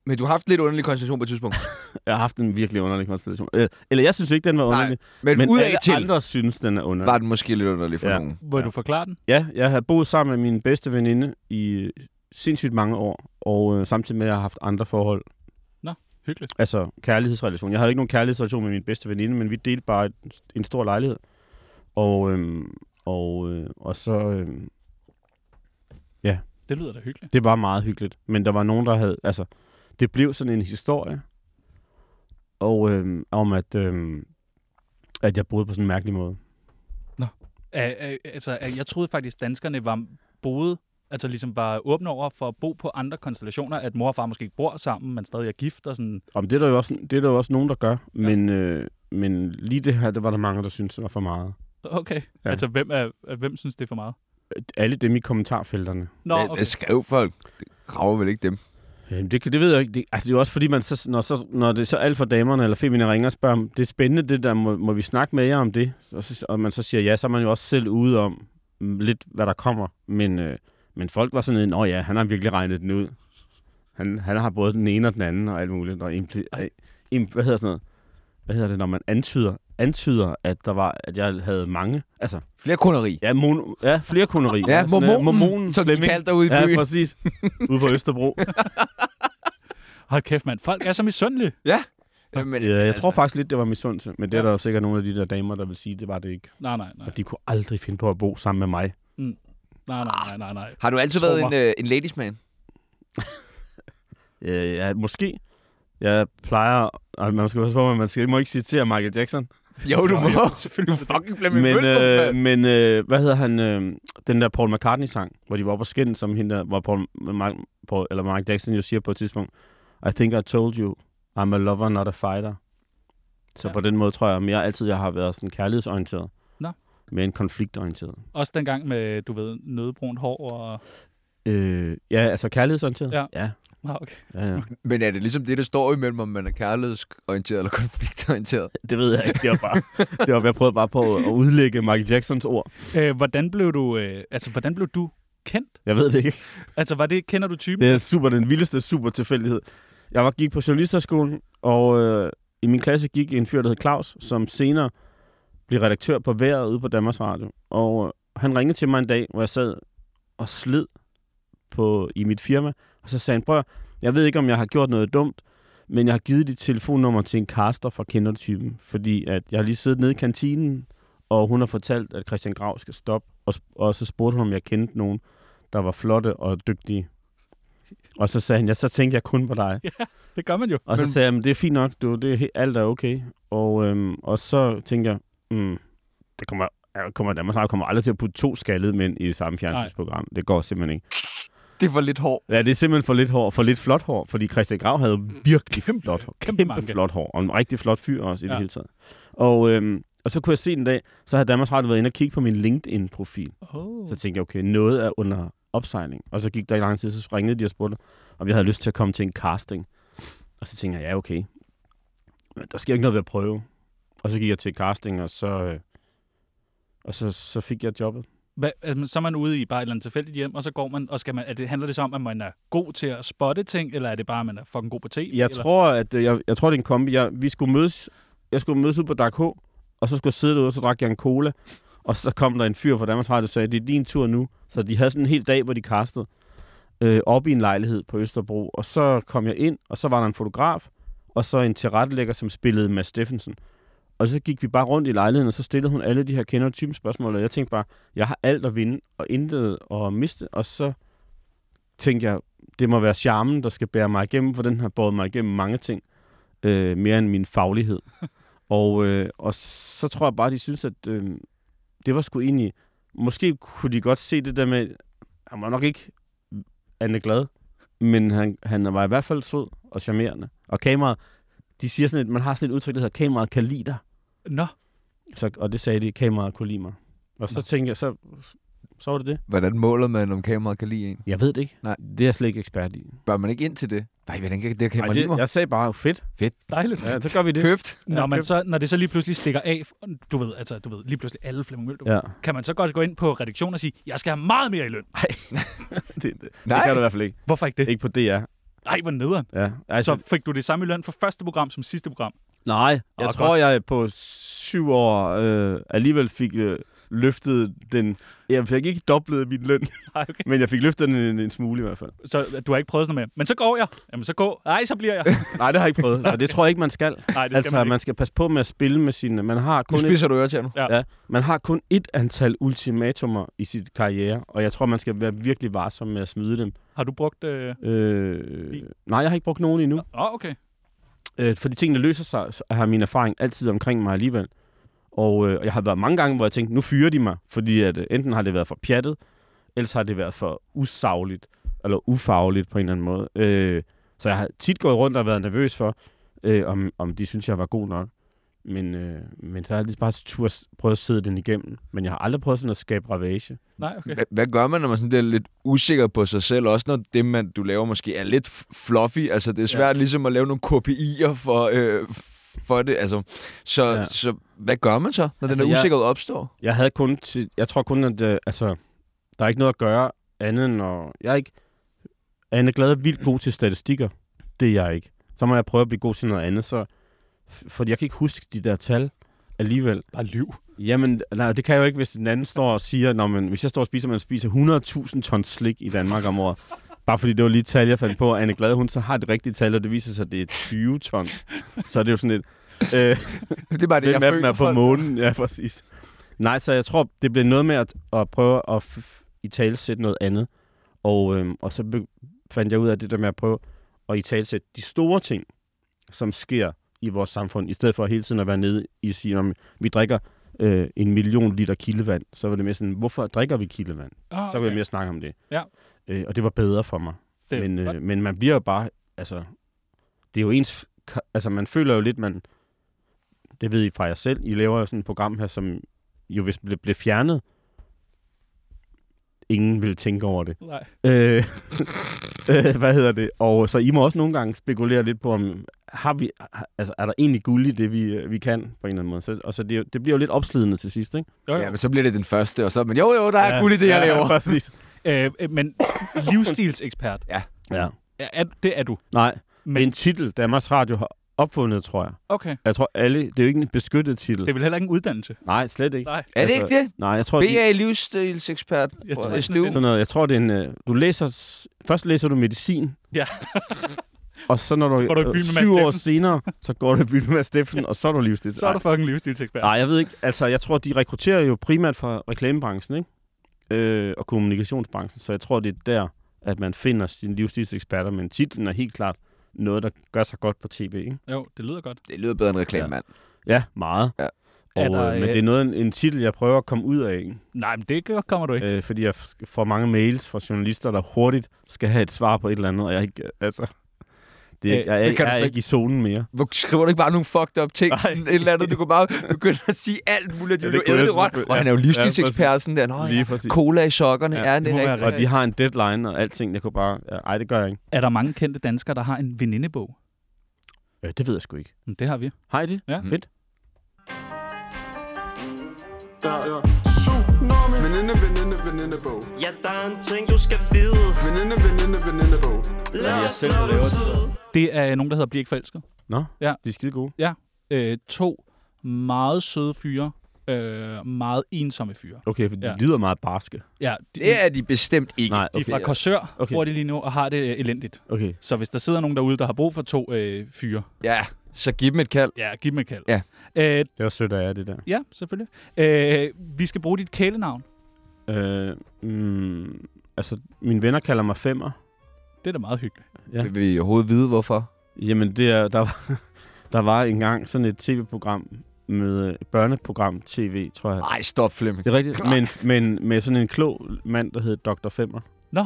men du har haft lidt underlig konstellation på et tidspunkt. Jeg har haft en virkelig underlig konstellation. Øh, eller jeg synes ikke, den var underlig. Men, men men ud af alle til andre synes, den er underlig. var den måske lidt underlig for ja. Ja. nogen. Hvor ja. Ja. du forklare den? Ja, jeg havde boet sammen med min bedste veninde i sindssygt mange år. Og øh, samtidig med, at jeg har haft andre forhold Hyggeligt. altså kærlighedsrelation. Jeg havde ikke nogen kærlighedsrelation med min bedste veninde, men vi delte bare et, en stor lejlighed. Og, øhm, og, øh, og så... Øhm, Det lyder da hyggeligt. det var meget hyggeligt. Men der var nogen, der havde... Altså, det blev sådan en historie. Og øhm, om, at, øhm, at jeg boede på sådan en mærkelig måde. Æ, æ, altså, øh, jeg troede faktisk, danskerne var boede, altså ligesom var åbne over for at bo på andre konstellationer, at mor og far måske ikke bor sammen, men stadig er gift og sådan. Om det er der jo også, det er der jo også nogen, der gør. Ja. Men, øh, men lige det her, det var der mange, der syntes det var for meget. Okay. Ja. Ja. Altså, hvem, er, hvem synes, det er for meget? Alle dem i kommentarfelterne. Nå, Hvad- okay. Hvad skrev folk? Det rager vel ikke dem. Jamen, det, kan- det ved jeg ikke. Det, altså, det er jo også fordi, man så, når, så, når det er så alt for damerne eller femine ringer og spørger, om, det er spændende det der, må, må vi snakke med jer om det? Og, så, og man så siger ja, så er man jo også selv ude om mm, lidt, hvad der kommer. Men, øh, men folk var sådan, nå ja, han har virkelig regnet den ud. Han, han har både den ene og den anden og alt muligt. Og impli- øh, im, hvad hedder sådan noget? Hvad hedder det, når man antyder, antyder at, der var, at jeg havde mange? Altså, Flere kunderi. ja, mon, ja flere koneri. Ja, Sådan, øh, mormonen, mormonen som de Flemming. kaldte dig ude i Ja, byen. præcis. ude på Østerbro. Hold kæft, mand. Folk er så misundelige. Ja, men, Ja, jeg altså. tror faktisk lidt, det var misundelse, men det er der jo sikkert nogle af de der damer, der vil sige, det var det ikke. Nej, nej, nej. Og de kunne aldrig finde på at bo sammen med mig. Nej, nej, nej, nej, nej. Har du altid Tro været en, øh, en ladiesman? Øh, ja, måske. Jeg plejer... Altså, man skal passe på, men man skal, må ikke citere Michael Jackson. Jo, du må. Selvfølgelig. Du fucking Flemming Men, Møldrup, øh, mand. men øh, hvad hedder han? Øh, den der Paul McCartney-sang, hvor de var oppe og skændes som hende der, hvor Paul, Mark, Paul, eller Mark Jackson jo siger på et tidspunkt, I think I told you, I'm a lover, not a fighter. Så Ja. ja. på den måde tror jeg mere altid, jeg har været sådan kærlighedsorienteret. Nå. Mere en konfliktorienteret. Også dengang med, du ved, nødbrunt hår og... Øh, ja, altså kærlighedsorienteret? Ja. ja. Nå, okay. Ja, ja. men er det ligesom det, der står imellem, om man er kærlighedsorienteret eller konfliktorienteret? Det ved jeg ikke. Det var bare, det var, jeg prøvede bare på at udlægge Michael Jacksons ord. Æ, hvordan blev du... Øh, altså, hvordan blev du kendt? Jeg ved det ikke. Altså, var det... Kender du typen? Det er super, den vildeste super tilfældighed. Jeg var, gik på journalisterskolen, og øh, i min klasse gik en fyr, der hed Claus, som senere blev redaktør på vejret ude på Danmarks Radio. Og øh, han ringede til mig en dag, hvor jeg sad og sled på, i mit firma, og så sagde han, prøv at- jeg ved ikke, om jeg har gjort noget dumt, men jeg har givet dit telefonnummer til en caster fra Kender Du typen, fordi at jeg har lige siddet nede i kantinen, og hun har fortalt, at Christian Grav skal stoppe, og, sp- og så spurgte hun, om jeg kendte nogen, der var flotte og dygtige. Og så sagde han, ja, så tænkte jeg kun på dig. det gør man jo. Og så sagde jeg, "Men det er fint nok, du, det er, he- alt er okay. Og, øhm, og så tænkte jeg, mm, det kommer, jeg kommer, Danmarks Radio kommer aldrig til at putte to skaldede mænd i samme fjernsynsprogram. Det går simpelthen ikke. Det var lidt hårdt. Ja, det er simpelthen for lidt hår, for lidt flot hår, fordi Christian Grav havde virkelig kæmpe, flot hår. kæmpe Kæmpe, manke. kæmpe flot hår, og en rigtig flot fyr også i ja. Ja. det hele taget. Og, øhm, og så kunne jeg se en dag, så havde Danmarks Radio været inde og kigge på min LinkedIn-profil. Oh. Så tænkte jeg, okay, noget er under opsejling. Og så gik der i lang tid, så ringede de og spurgte, om jeg havde lyst til at komme til en casting. Og så tænkte jeg, ja, okay. Men der sker ikke noget ved at prøve. Og så gik jeg til casting, og så, øh, og så, så fik jeg jobbet. Hva, altså, så er man ude i bare et eller andet tilfældigt hjem, og så går man, og skal man, er det, handler det så om, at man er god til at spotte ting, eller er det bare, at man er fucking god på tv? Jeg eller? tror, at øh, jeg, jeg tror, det er en kombi. Jeg, vi skulle mødes, jeg skulle mødes ud på Dark H, og så skulle jeg sidde derude, og så drak jeg en cola. Og så kom der en fyr fra Danmarks Radio, og sagde, det er din tur nu. Så de havde sådan en hel dag, hvor de kastede øh, op i en lejlighed på Østerbro. Og så kom jeg ind, og så var der en fotograf, og så en tilrettelægger, som spillede Mads Steffensen. Og så gik vi bare rundt i lejligheden, og så stillede hun alle de her kender typen spørgsmål, og jeg tænkte bare, jeg har alt at vinde, og intet at miste. Og så tænkte jeg, det må være charmen, der skal bære mig igennem, for den har båret mig igennem mange ting, øh, mere end min faglighed. og, øh, og så tror jeg bare, de synes, at øh, det var sgu egentlig... Måske kunne de godt se det der med... Han var nok ikke Anne Glad, men han, han var i hvert fald sød og charmerende. Og kameraet, de siger sådan et, man har sådan et udtryk, der hedder, kameraet kan lide dig. Nå, Så, og det sagde de, kameraet kunne lide mig. Og så tænkte jeg, så, så var det det. Hvordan måler man, om kameraet kan lide en? Jeg ved det ikke. Nej. Det er jeg slet ikke ekspert i. Bør man ikke ind til det? Nej, hvordan kan det her kamera Ej, lide det, mig? jeg sagde bare, fedt. dejligt. Ja, Ja, så gør vi det. Købt. når, man køb. så, når det så lige pludselig stikker af, du ved, altså, du ved, lige pludselig alle Flemming Møldrup, ja. Ja. kan man så godt gå ind på redaktionen og sige, jeg skal have meget mere i løn. Det, det, det Nej. kan du i hvert fald ikke. Hvorfor ikke det? Ikke på DR. Nej, hvor nederen. Ja. Altså, så fik du det samme i løn for første program som sidste program. nej, jeg Åh, tror, godt. jeg på syv år øh, alligevel fik øh, løftet den... Jeg fik ikke dobblet min løn, Nej, okay. men jeg fik løftet den en, en smule i hvert fald. Så du har ikke prøvet sådan noget med, men så går jeg. Jamen, så går Nej, så bliver jeg. Nej, det har jeg ikke prøvet, og det tror jeg ikke, man skal. Nej, Nej, det skal altså, man man, ikke. skal passe på med at spille med sine... Man har Nu kun et, spiser du ører til nu. ja, man har kun et antal ultimatumer i sit karriere, og jeg tror, man skal være virkelig varsom med at smide dem. Har du brugt... Øh... Øh, nej, jeg har ikke brugt nogen endnu. Åh, okay. Øh, fordi tingene løser sig, så har min erfaring altid omkring mig alligevel. Og øh, og jeg har været mange gange, hvor jeg tænkte, nu fyrer de mig. Fordi at, øh, enten har det været for pjattet, ellers har det været for usagligt, eller ufagligt på en eller anden måde. Øh, så jeg har tit gået rundt og været nervøs for, øh, om, om de synes, jeg var god nok. Men, øh, men så har jeg lige bare tur prøvet at sidde den igennem. Men jeg har aldrig prøvet sådan at skabe ravage. Nej, okay. Hva- Hvad gør man, når man sådan bliver lidt usikker på sig selv? Også når det, man, du laver, måske er lidt f- fluffy. Altså, det er svært ja. ligesom at lave nogle KPI'er for, øh, f- for det. Altså, så, ja. Ja. så hvad gør man så, når altså, Altså, den der jeg- usikkerhed opstår? Jeg havde kun til, jeg tror kun, at øh, altså, der er ikke noget at gøre andet end at, jeg er ikke, Anne Glad er vildt god til statistikker. Det er jeg ikke. Så må jeg prøve at blive god til noget andet, så, fordi jeg kan ikke huske de der tal alligevel. Bare liv. Jamen, nej, det kan jeg jo ikke, hvis den anden står og siger, når man, hvis jeg står og spiser, man spiser 100.000 ton slik i Danmark om året. Bare fordi det var lige et tal, jeg fandt på, og Anne Glad, hun så har det rigtige tal, og det viser sig, at det er 20 ton. Så er det jo sådan et... Øh, Det er bare det, Hvem jeg af dem føler. er på for- månen? Ja, præcis. Nej, så jeg tror, det bliver noget med at, at prøve at f- f- i tale sætte noget andet. Og, øhm, og så be- fandt jeg ud af det der med at prøve at i tale sætte de store ting, som sker i vores samfund, i stedet for hele tiden at være nede i at sige, om vi drikker øh, en million liter kildevand, så var det mere sådan, hvorfor drikker vi kildevand? Ah, Så kunne jeg mere snakke om det. Ja. Øh, og det var bedre for mig. Det er Men, godt. øh, men man bliver jo bare, altså, det er jo ens, ka- altså man føler jo lidt, man, det ved I fra jer selv, I laver jo sådan et program her, som jo hvis det blev- blev fjernet, ingen ville tænke over det. Nej. Øh, øh, hvad hedder det? Og så I må også nogle gange spekulere lidt på, om har vi, har- altså, er der egentlig guld i det, vi, øh, vi kan på en eller anden måde? Så, og så det, er jo- det bliver jo lidt opslidende til sidst, ikke? Jo, jo. Ja, men så bliver det den første, og så... Men jo, jo, der er ja, guld i det, jeg ja, laver. præcis. Øh, øh, men livsstilsekspert, Ja. ja, er, det er du. Nej, men en Men titel, Danmarks Radio har opfundet, tror jeg. okay, Jeg tror alle, det er jo ikke en beskyttet titel. det er vel heller ikke en uddannelse. Nej, slet ikke. Nej. Er det Altså, ikke det? Nej, jeg tror, de, BA livsstilsekspert Jeg tror på ikke, SDU. det sådan noget, jeg tror, det er en... øh, Du læser... s- Først læser du medicin. Ja. og så når du, går du i byen øh, med Mads syv år Steffensen. senere, så går du i byen med Mads Steffensen, og så er du livsstil. Altså, Så er du fucking livsstilsekspert. Nej, jeg ved ikke. Altså, jeg tror, de rekrutterer jo primært fra reklamebranchen, ikke? Øh, og kommunikationsbranchen, så jeg tror, det er der, at man finder sine livsstilseksperter, men titlen er helt klart noget, der gør sig godt på tv, ikke? Jo, det lyder godt. Det lyder bedre end reklamemand. Ja, meget. Ja. Og, Er der, øh, men øh, det er noget, en, en titel, jeg prøver at komme ud af, ikke? Nej, men det gør- kommer du ikke. øh, fordi jeg f- får mange mails fra journalister, der hurtigt skal have et svar på et eller andet, og jeg er ikke, altså, det er, Øh, ikke- jeg, er, det ikke, kan du jeg er slet ikke i zonen mere. Hvor skriver du ikke bare nogle fucked up ting? Nej. Sådan et eller andet. Du kunne bare begynde at sige alt muligt. Ja, Ja, det det kunne er jo jeg råt. selvfølgelig. Og han er jo Ja, livsstilsekspert sådan der. Nå, ja. Lige præcis. Cola i sokkerne. Ja, Ja, er det det må være rigtigt? Og de har en deadline og alting, jeg kunne bare, ja, ej, det gør jeg ikke. Er der mange kendte danskere, der har en venindebog? Øh, det ved jeg sgu ikke. Men det har vi. Har I det? Ja. Fedt. Der er tsunami Veninde, veninde, venindebog Ja, der er en ting, du skal vide. Veninde, veninde, venindebog Lad jeg os selv, lade der laver den sidde. Det er nogen, der hedder Bliv ikke forelsket. Nå, Ja. de er skide gode. Øh, to meget søde fyre. Øh, meget ensomme fyre. Okay, for de Ja. ja. lyder meget barske. Ja, de, Det er de bestemt ikke. Nej, de er okay. fra Korsør, okay. Okay. bor de lige nu, og har det øh, elendigt. okay. Så hvis der sidder nogen derude, der har brug for to øh, fyre, Ja, så giv dem et kald. ja, giv dem et kald. Ja. Øh, Det var sødt af jer, det der. ja, selvfølgelig. Øh, vi skal bruge dit kælenavn. Øh, mm, altså, mine venner kalder mig femmer. Det er da meget hyggeligt. Ja. Vil vi overhovedet vide, hvorfor? Jamen, det er, der, var, der var engang sådan et tv-program med øh, et børneprogram tv, tror jeg. Nej, stop, Flemming. Det er rigtigt, men, men med sådan en klog mand, der hed Dr. Femmer. Nå.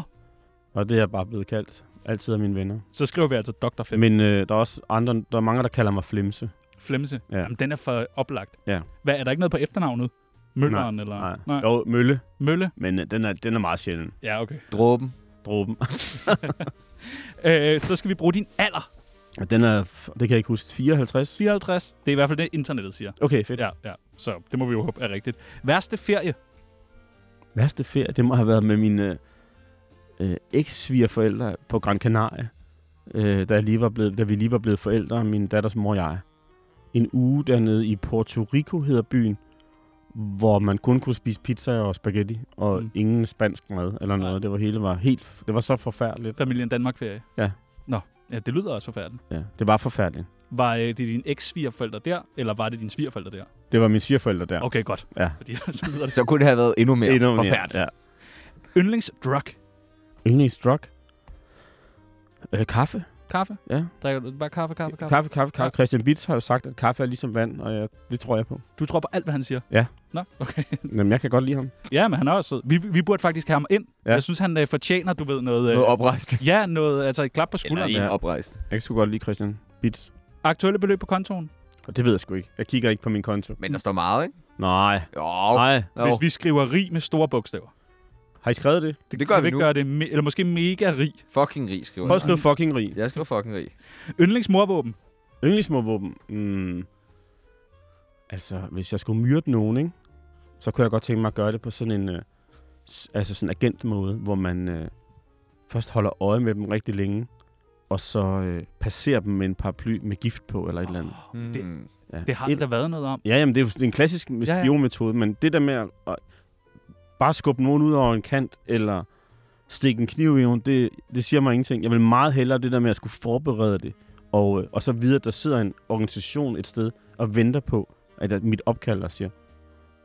Og det er jeg bare blevet kaldt. Altid af mine venner. Så skriver vi altså Dr. Fem. Men øh, der er også andre, der er mange, der kalder mig Flimse. Flemse. Ja. Jamen, den er for oplagt. Ja. Hvad, er der ikke noget på efternavnet? Mølleren eller? Nej. Nej. Jo, Mølle. Mølle? Men øh, den, er, den er meget sjælden. Ja, okay. Dråben. Dråben. Øh, så skal vi bruge din alder. Og den er, f- det kan jeg ikke huske, 54? 54. Det er i hvert fald det, internettet siger. Okay, fedt. Ja. Ja, ja. Så det må vi jo håbe er rigtigt. Værste ferie? Værste ferie, det må have været med mine øh, eks-svigerforældre på Gran Canaria. Øh, da, jeg lige var blevet, da vi lige var blevet forældre, min datters mor og jeg. En uge dernede i Puerto Rico hedder byen. hvor man kun kunne spise pizza og spaghetti, og mm. ingen spansk mad eller noget. Nej. Det var hele var helt... Det var så forfærdeligt. Familien Danmark-ferie? Ja. Nå, ja, det lyder også forfærdeligt. Ja, det var forfærdeligt. Var øh, det dine eks-svigerforældre der, eller var det dine svigerforældre der? Det var mine svigerforældre der. Okay, godt. Ja. Fordi så lyder det Så kunne det have været endnu mere Endnu mere, forfærdeligt. Ja. Yndlingsdrug. Yndlingsdrug? Øh, kaffe? Kaffe? Ja. Drikker du bare kaffe, kaffe, kaffe? Kaffe, kaffe, kaffe. Christian Bitz har jo sagt, at kaffe er ligesom vand, og jeg, det tror jeg på. Du tror på alt, hvad han siger? Ja. Nå, okay. Men jeg kan godt lide ham. Ja, men han er også sød. Vi, vi burde faktisk have ham ind. Ja. Ja. Jeg synes, han øh, fortjener, du ved, noget... Øh, Noget oprejst. ja, noget, altså et klap på Eller skulderen. en Ja. oprejst. Jeg kan sgu godt lide Christian Bitz. Aktuelle beløb på kontoen? Og det ved jeg sgu ikke. Jeg kigger ikke på min konto. Men der står meget, ikke? Nej. Jo, Nej. jo. Hvis vi skriver rig med store bogstaver. Har I skrevet det? det gør Kan vi nu. gøre det, me- eller måske mega rig. Fucking rig, skriver Prøv at jeg. skrive fucking rig. Jeg skriver fucking rig. Yndlingsmorvåben. Yndlingsmordvåben? Mm. Altså, hvis jeg skulle myrde nogen, ikke? så kunne jeg godt tænke mig at gøre det på sådan en øh, s- altså sådan en agentmåde, hvor man øh, først holder øje med dem rigtig længe, og så øh, passerer dem med en paraply med gift på, eller et eller andet. Mm. Det- Det, Ja. Det har et, der været noget om. ja, jamen, det er jo sådan en klassisk Ja, ja. spionmetode, men det der med at, at bare skubbe nogen ud over en kant, eller stikke en kniv i nogen, det, det siger mig ingenting. Jeg vil meget hellere det der med at skulle forberede det, og, øh, og så videre, at der sidder en organisation et sted og venter på, at jeg- mit opkald der siger,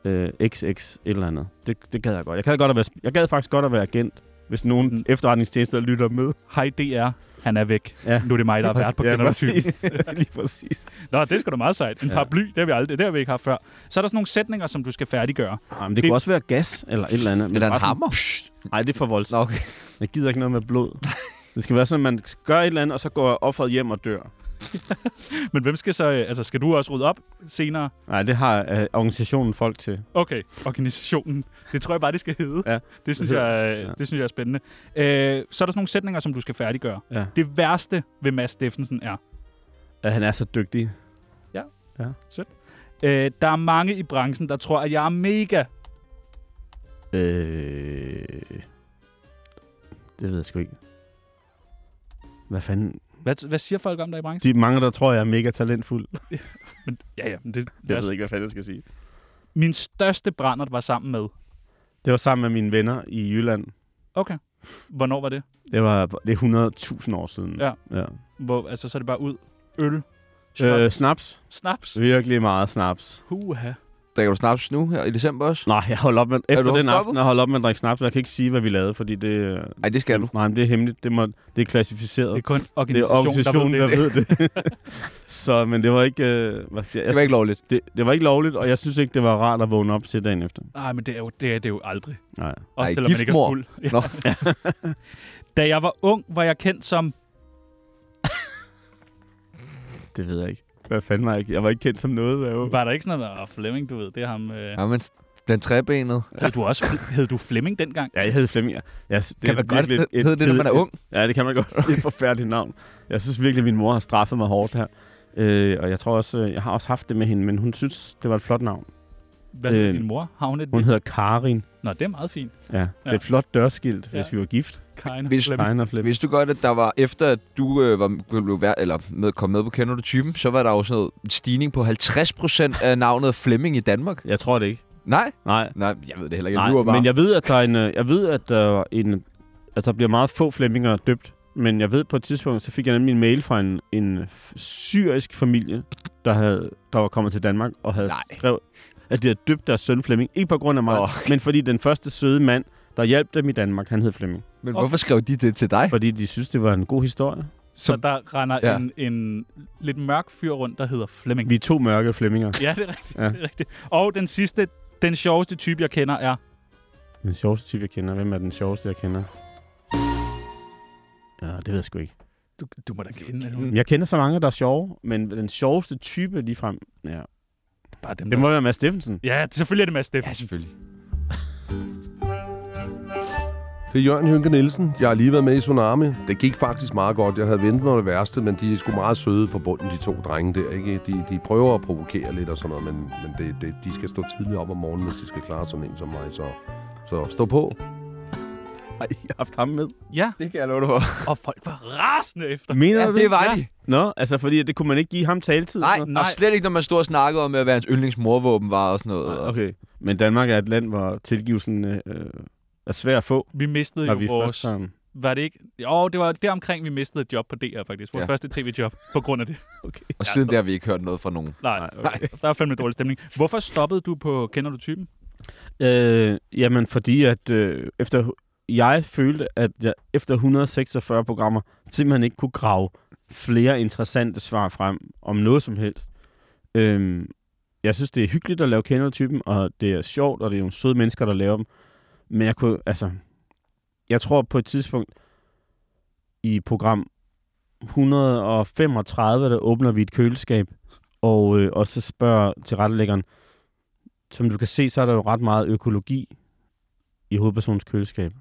øh, XX et eller andet. Det, det gad jeg godt. Jeg gad, godt at være, sp- jeg gad faktisk godt at være agent, hvis nogen Mm. efterretningstjenester lytter med. Hej DR, han er væk. Ja. Nu er det mig, der er vært på ja, præcis. Lige præcis. Nå, det er sgu da meget sejt. En Ja. paraply, det har vi, aldrig, det har vi ikke haft før. Så er der sådan nogle sætninger, som du skal færdiggøre. Jamen, det, Det- det kunne også være gas eller et eller andet. men Eller en bare sådan- hammer. Nej, det er for voldsomt. Nå, okay. Jeg gider ikke noget med blod. Det skal være sådan, at man gør et eller andet, og så går offeret hjem og dør. Men hvem skal så... øh, Altså, skal du også rydde op senere? Nej, det har øh, organisationen folk til. Okay, organisationen. Det tror jeg bare, det skal hedde. Ja, det, synes det hedder- jeg, øh, ja. det synes jeg er spændende. Øh, så er der sådan nogle sætninger, som du skal færdiggøre. Ja. Det værste ved Mads Steffensen er... At han er så dygtig. Øh, der er mange i branchen, der tror, at jeg er mega. Øh... Det ved jeg sgu ikke. Hvad fanden? Hvad, hvad siger folk om dig i branchen? De mange, der tror, jeg er mega talentfuld. Men, ja, ja. men Det, det Jeg er, ved ikke, hvad fanden jeg skal sige. min største brændert var sammen med. Det var sammen med mine venner i Jylland. Okay. Hvornår var det? Det var det er 100.000 år siden. Ja. ja. Hvor, altså, så er det bare ud. Øl. Shot. Øh, snaps. Snaps. Virkelig meget snaps. Huha. Drikker du snaps nu her i december også? Nej, jeg holdt op med, efter den stoppet? aften, jeg holdt op med at drikke snaps, og jeg kan ikke sige, hvad vi lavede, fordi det, øh, Nej, det skal du. Nej, men det er hemmeligt. Det, må, det er klassificeret. Det er kun Det er organisationen, organisationen, der ved det. der ved det. så, men det var ikke... Øh, hvad skal jeg, Det var ikke lovligt. det, det var ikke lovligt, og jeg synes ikke, det var rart at vågne op til dagen efter. Nej, men det er jo, det er det jo aldrig. Nej. Også Ej, selvom man ikke er giftmor. fuld. Nå. Da jeg var ung, var jeg kendt som... Det ved jeg ikke. Hvad fanden var jeg ikke? Jeg var ikke kendt som noget. Jeg var... Var der ikke sådan noget, oh, Flemming, du ved, det er ham... Øh... Ja, men den trebenede. Hed, du også, hed du Flemming dengang? Ja, jeg hed Flemming. Jeg, jeg, det Kan er man godt virkelig et- hedde det, når et- man er et- ung? Ja, det kan man godt. Det er et forfærdeligt navn. Jeg synes virkelig, at min mor har straffet mig hårdt her. Øh, og jeg tror også, øh, jeg har også haft det med hende, men hun synes, det var et flot navn. Hvad hed Øh, din mor? Havnet? Hun hedder Karin. Nå, det er meget fint. Ja, ja. Det Ja. er et flot dørskilt, ja. Ja. hvis vi var gift. Kajne Hvis- Flemming. Karin og Flemming. Vidste du godt, at der var, efter at du øh, var, blev vær, eller med, kom med på Kender du typen, så var der jo sådan noget- en stigning på 50% af navnet Flemming i Danmark? Jeg tror det ikke. Nej, Nej, nej, jeg ved det heller ikke. Jeg Nej, lyver bare. men jeg ved, at der er en, øh, jeg ved, at der er en, at der bliver meget få flemminger døbt. Men jeg ved på et tidspunkt, så fik jeg nemlig en mail fra en, en f- syrisk familie, der, havde, der var kommet til Danmark og havde Nej. skrevet, at de havde døbt deres søn Flemming. Ikke på grund af mig, Åh. oh. men fordi den første søde mand, der hjalp dem i Danmark, han hed Flemming. Men hvorfor skrev de det til dig? Fordi de synes, det var en god historie. Så der render ja. Ja. en, en lidt mørk fyr rundt, der hedder Flemming. Vi er to mørke flemminger. Ja, det er rigtigt. Ja. Ja. Det er rigtigt. Og den sidste, den sjoveste type, jeg kender, er... Den sjoveste type, jeg kender. Hvem er den sjoveste, jeg kender? Ja, det ved jeg sgu ikke. Du, du må da kende alle. Jeg kender så mange, der er sjove, men den sjoveste type ligefrem... Ja, Bare dem, Mm. Det der- må være Mads Steffensen. Ja, selvfølgelig er det Mads Steffen. selvfølgelig. Det er Jørgen Hynke Nielsen. Jeg har lige været med i Tsunami. Det gik faktisk meget godt. Jeg havde ventet mig det værste, men de er sgu meget søde på bunden, de to drenge der. Ikke? De, de prøver at provokere lidt og sådan noget, men, men det, det, de skal stå tidligt op om morgenen, hvis de skal klare sådan en som mig. Så, så stå på. Har I haft ham med? Ja, Det kan jeg love dig for. og folk var rasende efter. Mener Ja, du det var Ja. de. Nå, altså fordi det kunne man ikke give ham taletid? og Nej, sådan og slet ikke, når man stod og snakkede om, hvad hans yndlingsmorvåben var og sådan noget. noget? Og Okay. Men Danmark er et land, hvor tilgivelsen øh, er svær at få. Vi mistede når jo vi vores- først har den. Var det ikke? Jo, det var deromkring, vi mistede et job på DR faktisk. Vores Ja. ja. første tv-job på grund af det. Okay. Og siden der har vi ikke hørt noget fra nogen. Nej, okay. der er fandme dårlig stemning. Hvorfor stoppede du på Kender du typen? Øh, jamen, fordi at øh, efter jeg følte, at jeg efter 146 programmer simpelthen ikke kunne grave flere interessante svar frem om noget som helst. Øhm, jeg synes, det er hyggeligt at lave kendertypen, og det er sjovt, og det er nogle søde mennesker, der laver dem. Men jeg kunne, altså, jeg tror på et tidspunkt i program 135, der åbner vi et køleskab, og, øh, og så spørger tilrettelæggeren, som du kan se, så er der jo ret meget økologi i hovedpersonens køleskab.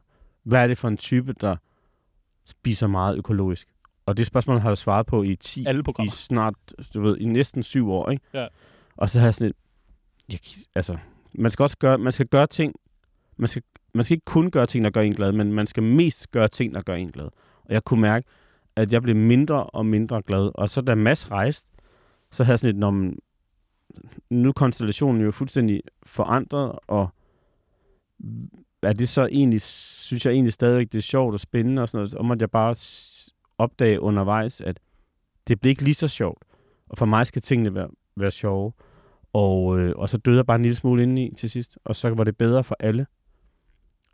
Hvad er det for en type, der spiser meget økologisk? Og det spørgsmål har jeg jo svaret på i 10, Alle i programmer. snart, du ved, i næsten syv år, ikke? Ja. Og så har jeg sådan et, jeg, gi- altså, man skal også gøre, man skal gøre ting, man skal, man skal ikke kun gøre ting, der gør en glad, men man skal mest gøre ting, der gør en glad. Og jeg kunne mærke, at jeg blev mindre og mindre glad. Og så da Mads rejste, så havde jeg sådan et, "Nå, men nu er konstellationen jo fuldstændig forandret, og er det så egentlig, synes jeg egentlig stadigvæk, det er sjovt og spændende og sådan noget, og måtte jeg bare s- opdage undervejs, at det blev ikke lige så sjovt. Og for mig skal tingene være, være sjove. Og, øh, og så døde jeg bare en lille smule indeni til sidst, og så var det bedre for alle,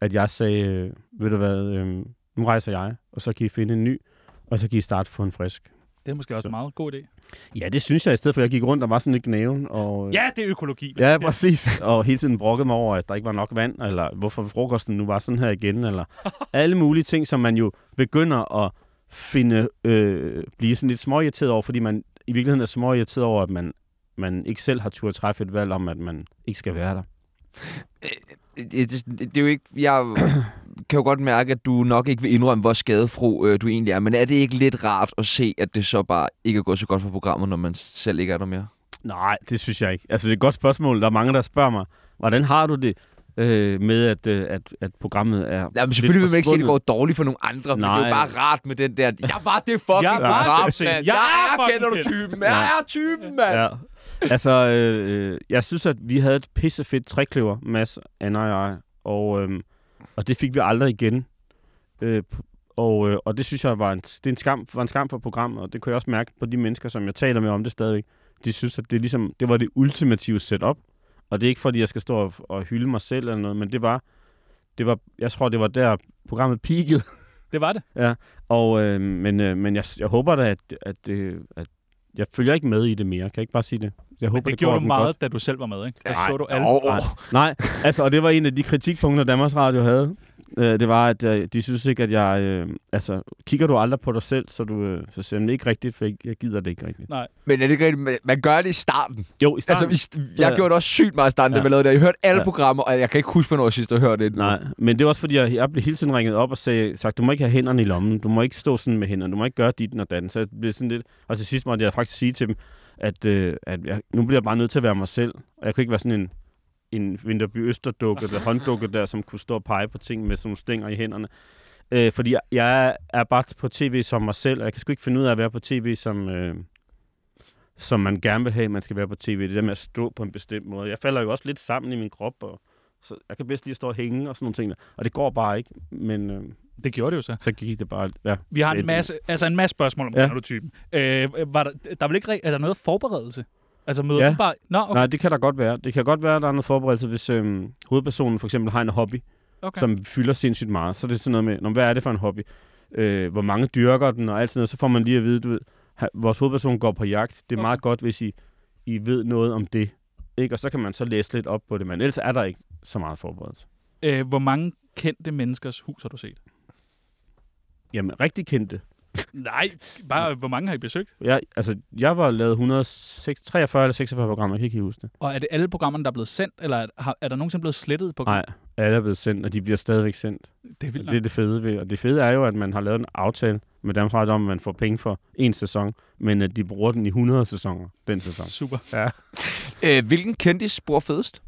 at jeg sagde, øh, ved du hvad, øh, nu rejser jeg, og så kan I finde en ny, og så kan I starte på en frisk. Det er måske også en meget god idé. Ja, det synes jeg, i stedet for at jeg gik rundt og var sådan lidt gnaven. Og, øh, Ja, det er økologi. Ja, præcis. Og hele tiden brokkede mig over, at der ikke var nok vand, eller hvorfor frokosten nu var sådan her igen, eller alle mulige ting, som man jo begynder at finde, øh, blive sådan lidt småirriteret over, fordi man i virkeligheden er småirriteret over, at man, man ikke selv har turde træffe et valg om, at man ikke skal være der. det, det, det er jo ikke... Jeg kan jo godt mærke, at du nok ikke vil indrømme, hvor skadefro øh, du egentlig er, men er det ikke lidt rart at se, at det så bare ikke er gået så godt for programmet, når man selv ikke er der mere? Nej, det synes jeg ikke. Altså, det er et godt spørgsmål. Der er mange, der spørger mig, hvordan har du det øh, med, at, øh, at, at programmet er Ja, men lidt selvfølgelig vil man ikke sige, at det går forsvundet? dårligt for nogle andre, men det er jo Nej. bare rart med den der... Jeg var det fucking Jeg var rap, sådan set. mand. Jeg Jeg, er jeg fucking kender du kendt." typen. Jeg er typen, mand. Ja. Altså, øh, øh, jeg synes, at vi havde et pissefedt trækløver, Mads, Anna og jeg, og, øh, og det fik vi aldrig igen. Øh, p- og, øh, og det synes jeg var en, det er en, skam, var en skam for programmet, og det kunne jeg også mærke på de mennesker, som jeg taler med om det stadigvæk. De synes, at det, er ligesom, det var det ultimative setup, og det er ikke fordi, jeg skal stå og, og hylde mig selv eller noget, men det var, det var, jeg tror, det var der programmet peakede. Det var det. Ja, og, øh, men, øh, men jeg, jeg håber da, at, at, øh, at jeg følger ikke med i det mere. Kan jeg ikke bare sige det? Jeg håber, Men det, går gjorde du dem meget, godt. da du selv var med, ikke? Der Nej. så du alle. Åh, åh. Nej, altså, og det var en af de kritikpunkter, Danmarks Radio havde. Øh, det var, at øh, de synes ikke, at jeg... Øh, altså, kigger du aldrig på dig selv, så du øh, så siger, jeg, "Men det er ikke rigtigt, for jeg, jeg gider det ikke rigtigt. Nej. Men er det ikke rigtigt? Man- Man gør det i starten. Jo, i starten. Altså, i st- Ja, jeg ja. gjorde det også sygt meget i starten, ja. det Ja. man lavede der. Jeg hørte alle Ja. programmer, og jeg kan ikke huske, hvornår jeg sidst har hørt det. Nej, men det var også fordi, jeg, jeg blev hele tiden ringet op og sagde, sagt, du må ikke have hænderne i lommen, du må ikke stå sådan med hænderne, du må ikke gøre dit og datten. Så jeg blev sådan lidt, og til sidst måtte jeg faktisk sige til dem, at, øh, at jeg, nu bliver jeg bare nødt til at være mig selv, og jeg kunne ikke være sådan en, en Vinterby Østerdukke, eller hånddukke der, som kunne stå og pege på ting med sådan nogle stænger i hænderne. Øh, fordi jeg, jeg er bare på tv som mig selv, og jeg kan sgu ikke finde ud af at være på tv som... Øh, som man gerne vil have, man skal være på tv. Det der med at stå på en bestemt måde. Jeg falder jo også lidt sammen i min krop, og så jeg kan bedst lige stå og hænge og sådan nogle ting. der. Og det går bare ikke, men... Øh, det gjorde det jo så. Så gik det bare... Ja, Vi har en lidt- masse, altså en masse spørgsmål om Ja. ja. du typen. Øh, var der, der var ikke, ri- er der noget forberedelse? Altså møder Ja. du bare... Nå, okay. Nej, det kan der godt være. Det kan godt være, at der er noget forberedelse, hvis øh, hovedpersonen for eksempel har en hobby, Okay. som fylder sindssygt meget. Så er det sådan noget med, "Nå, hvad er det for en hobby? Øh, hvor mange dyrker den og alt sådan noget. Så får man lige at vide, du ved, ha- vores hovedperson går på jagt. Det er okay. meget godt, hvis I, I ved noget om det. Ikke? Og så kan man så læse lidt op på det, men ellers er der ikke så meget forberedelse. Øh, hvor mange kendte menneskers hus har du set? Jamen, rigtig kendte. Nej, bare hvor mange har I besøgt? Jeg, altså, jeg var lavet 143 eller 46 programmer, jeg kan ikke helt huske det. Og er det alle programmerne, der er blevet sendt, eller er, har- er der nogensinde blevet slettet på Nej, alle er blevet sendt, og de bliver stadigvæk sendt. Det er vildt Og det er det fede ved. Og det fede er jo, at man har lavet en aftale med Danmarks Radio om, at man får penge for en sæson, men at de bruger den i 100 sæsoner, den sæson. Super. Ja. Øh, hvilken kendis bor fedest?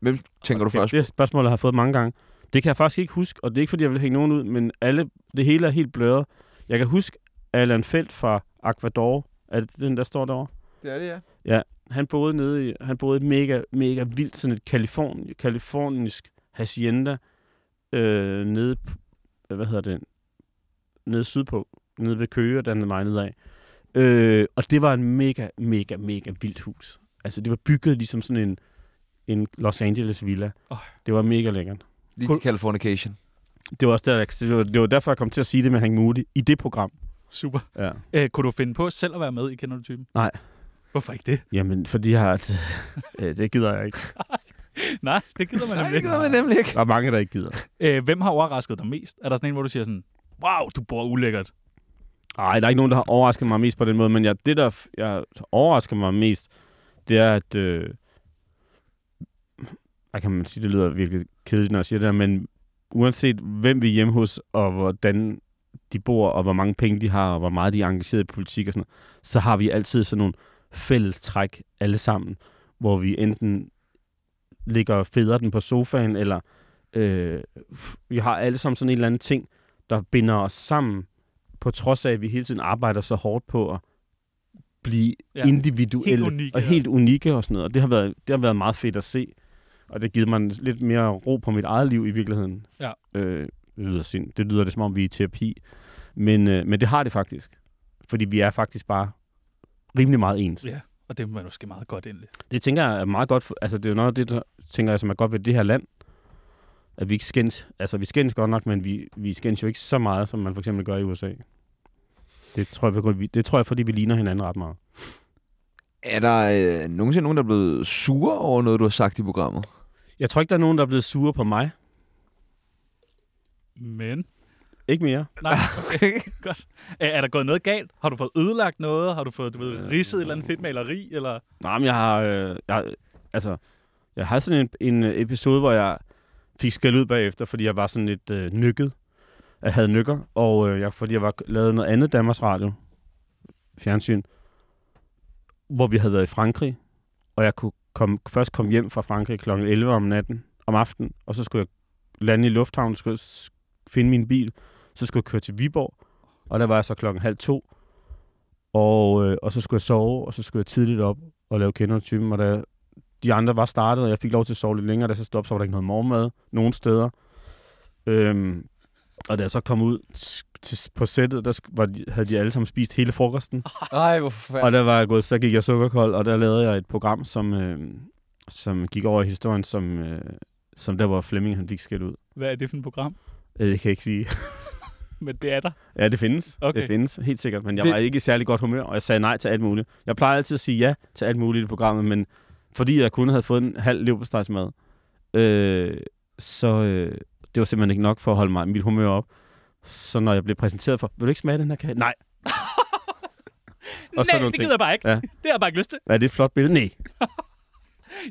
Hvem tænker du først? Det spørgsmål jeg har fået mange gange. Det kan jeg faktisk ikke huske, og det er ikke, fordi jeg vil hænge nogen ud, men alle, det hele er helt bløret. Jeg kan huske Allan Felt fra Aquador. Er det den, der står derovre? Det er det, ja. Ja, han boede nede i, han boede i et mega, mega vildt, sådan et kaliforn, kalifornisk hacienda, øh, nede, p- øh, hvad hedder det, nede sydpå, nede ved Køge, der er mig nede af. Øh, og det var en mega, mega, mega vildt hus. Altså, det var bygget ligesom sådan en, en Los Angeles villa. Åh. Det var mega lækkert. Lige Cool. Californication. Det var også der, jeg- det var, det var derfor, jeg kom til at sige det med Hank Moody i det program. Super. Ja. Øh, kunne du finde på selv at være med i Kender du typen? Nej. Hvorfor ikke det? Jamen, fordi jeg har... et- Øh, det gider jeg ikke. Nej, det gider man Nej, nemlig det ikke. gider man nemlig ikke. Der er mange, der ikke gider. Øh, hvem har overrasket dig mest? Er der sådan en, hvor du siger sådan, wow, du bor ulækkert. Nej, der er ikke nogen, der har overrasket mig mest på den måde, men jeg, det, der f- jeg overrasker mig mest, det er, at... Øh, jeg kan man sige, det lyder virkelig kedeligt, når jeg siger det her, men uanset hvem vi er hjemme hos, og hvordan de bor, og hvor mange penge de har, og hvor meget de er engageret i politik og sådan noget, så har vi altid sådan nogle fælles træk alle sammen, hvor vi enten ligger og fedrer den på sofaen, eller øh, f- vi har alle sammen sådan en eller anden ting, der binder os sammen, på trods af, at vi hele tiden arbejder så hårdt på at blive Ja. ja, individuelle Helt unikke, og ja. helt unikke og sådan noget. Og det har, været, det har været meget fedt at se, og det har givet mig en- lidt mere ro på mit eget liv i virkeligheden. Ja. Øh, det lyder sind. Det lyder det, som om vi er i terapi. Men, øh, men det har det faktisk. Fordi vi er faktisk bare rimelig meget ens. Ja, og det er man måske meget godt endelig. Det tænker jeg er meget godt. For, altså, det er jo noget af det, der, tænker jeg, som er godt ved det her land. At vi ikke skændes. Altså, vi skændes godt nok, men vi, vi skændes jo ikke så meget, som man for eksempel gør i USA. Det tror jeg, på grund- vi- det tror jeg fordi vi ligner hinanden ret meget. Er der øh, nogensinde nogen, der er blevet sure over noget, du har sagt i programmet? Jeg tror ikke, der er nogen, der er blevet sure på mig. Men, Ikke mere. nej, okay, godt. Øh, er der gået noget galt? Har du fået ødelagt noget? Har du fået, du ved, ridset et eller andet fedt maleri? Eller? Nej, men jeg har... Øh, jeg, altså, jeg har sådan en, en øh, episode, hvor jeg fik skæld ud bagefter, fordi jeg var sådan lidt øh, nykket. Jeg havde nykker, og øh, jeg, fordi jeg var lavet noget andet Danmarks Radio, fjernsyn, hvor vi havde været i Frankrig, og jeg kunne kom, først komme hjem fra Frankrig kl. 11 om natten, om aftenen, og så skulle jeg lande i lufthavnen, skulle jeg s- finde min bil, så skulle jeg køre til Viborg, og der var jeg så klokken halv to, og, øh, og så skulle jeg sove, og så skulle jeg tidligt op og lave kender typen, og da de andre var startet, og jeg fik lov til at sove lidt længere, da jeg så stoppede, så var der ikke noget morgenmad nogen steder. Øhm, og da jeg så kom ud s- til, på sættet, der sk- var, de- havde de alle sammen spist hele frokosten. Nej, hvor fanden. Og der var jeg gået, så gik jeg sukkerkold, og der lavede jeg et program, som, øh, som gik over i historien, som, øh, som der, hvor Flemming han fik skæld ud. Hvad er det for et program? Øh, Det kan jeg ikke sige. Men det er der. Ja, det findes. Okay. Okay. Det findes, helt sikkert. Men jeg Vi- var ikke i særlig godt humør, og jeg sagde nej til alt muligt. Jeg plejer altid at sige ja til alt muligt i programmet, men fordi jeg kun havde fået en halv leverpostejsmad, øh, så øh, det var simpelthen ikke nok for at holde mig, mit humør op. Så når jeg blev præsenteret for, vil du ikke smage den her kage? Nej. Og sådan Nej, nogle det ting. gider jeg bare ikke. Ja. Ja. Det har jeg bare ikke lyst til. Er det et flot billede? Nej.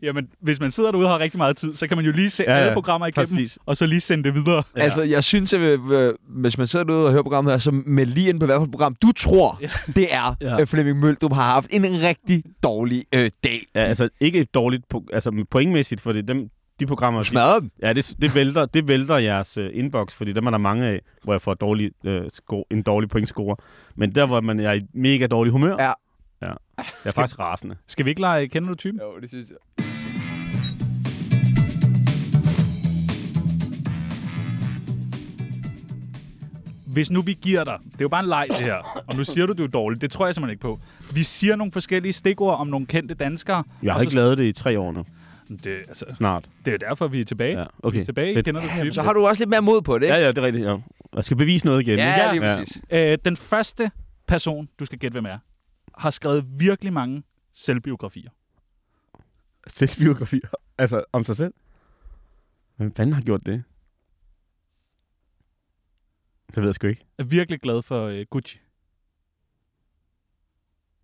Jamen, hvis man sidder derude og har rigtig meget tid, så kan man jo lige se ja, Ja, ja. ja. alle programmer igennem, Præcis. og så lige sende det videre. Ja. Altså, jeg synes, at øh, hvis man sidder derude og hører programmet her, så med lige ind på hvert fald program, du tror, ja. det er, ja. Ja. at Flemming Møldrup har haft en rigtig dårlig øh, dag. Ja, altså ikke et dårligt, pro- altså pointmæssigt, for det dem, de programmer... Du de- smadrer den. Ja, det, det, vælter, det vælter jeres øh, inbox, fordi dem er der mange af, hvor jeg får dårlig, øh, sko- en dårlig pointscore. Men der, hvor man er i mega dårlig humør, Ja. Ja. Jeg er faktisk rasende. Skal vi ikke lege, kender du typen? Jo, det synes jeg. Hvis nu vi giver dig, det er jo bare en leg det her, og nu siger du, det er dårligt, det tror jeg simpelthen ikke på. Vi siger nogle forskellige stikord om nogle kendte danskere. Jeg har og ikke lavet det i tre år nu, lavet... Det, altså, snart. det er jo derfor, vi er tilbage. Ja, Ja. okay. Tilbage, Fedt. kender du typen? Jamen, så har du også lidt mere mod på det, ikke? Ja, ja, det er rigtigt. Ja. Jeg skal bevise noget igen. ikke? ja lige præcis. Øh, den første person, du skal gætte, hvem er, har skrevet virkelig mange selvbiografier. Selvbiografier. Altså, om sig selv. Hvem fanden har gjort det? Det ved jeg sgu ikke. Jeg er virkelig glad for øh, Gucci.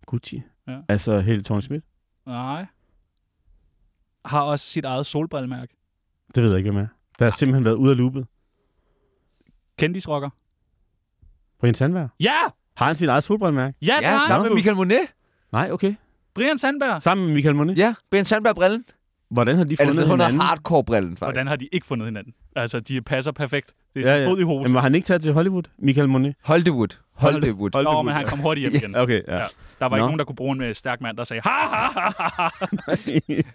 Gucci. Ja. Altså, hele Tony Smith. Nej. Har også sit eget solbrillemærke. Det ved jeg ikke, hvem er. Der har simpelthen været ude af loopet. Kendisrocker. Brian Sandberg. Ja! Har han sit eget solbrændmærke? Ja, det Ja, har sammen han. med Michael Monet. Nej, okay. Brian Sandberg. Sammen med Michael Monet? Ja, Brian Sandberg-brillen. Hvordan har de fundet Eller hinanden? hardcore-brillen, faktisk. Hvordan har de ikke fundet hinanden? Altså, de passer perfekt. Det er sådan ja, ja. fod i hosen. Jamen, var han ikke taget til Hollywood? Michael Monet? Hollywood. Hollywood. Nå, men han kom hurtigt hjem igen. Okay, ja. Ja. Der var Nå. ikke nogen, der kunne bruge en øh, stærk mand, der sagde, ha, ha, ha, ha, ha.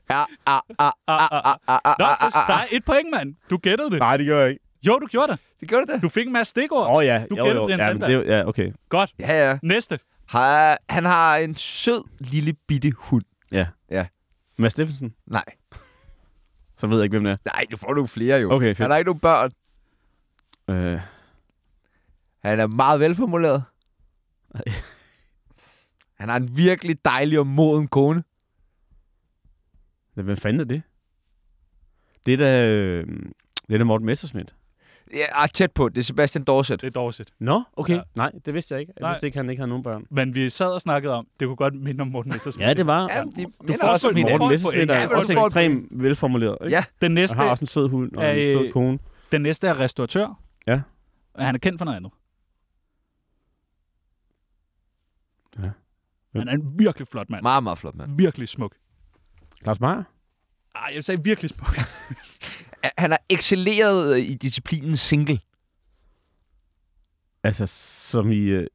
Ah, ah, ah, ah, ah, ah, ah, Nå, ah, det- ah, der ah. er et point, mand. Du gættede det. Nej, det gjorde jeg ikke. Jo, du gjorde det. Det gjorde det. Du fik en masse stikord. Åh oh, ja, Du jo, gættede jo. det en ja, men søndag. det, ja, okay. Godt. Ja, ja. Næste. Har- Han har en sød lille bitte hund. Mads Steffensen, Nej. så ved jeg ikke, hvem det er. Nej, du får nogle flere jo. Okay, fedt. Han har ikke nogen børn. Øh, Han er meget velformuleret. Han har en virkelig dejlig og moden kone. ja, hvem fanden er det? Det er da, øh, det er da Morten Messerschmidt. Ja, ah, tæt på. Det er Sebastian Dorset. Det er dårligt. Nå, okay. Ja. Ja. Nej, det vidste jeg ikke. Jeg Nej. vidste ikke, han ikke havde nogen børn. Men vi sad og snakkede om, det kunne godt minde om Morten Messersmith. Ja, det var. Ja, de Du minder får også også om et hinanden. Morten Point Messerschmidt for en. er Ja, også men- ekstremt velformuleret. Ikke? Ja. Den Og næste, har også en sød hund og en Øh, sød kone. den næste er restauratør. Ja. Og han er kendt for noget andet. Ja. Han er en virkelig flot mand. Meget, meget flot, mand. Virkelig smuk. Claus Meier? Ej, jeg sagde virkelig smuk. Ah, Han har excelleret øh, i disciplinen single. Altså, som I... Øh,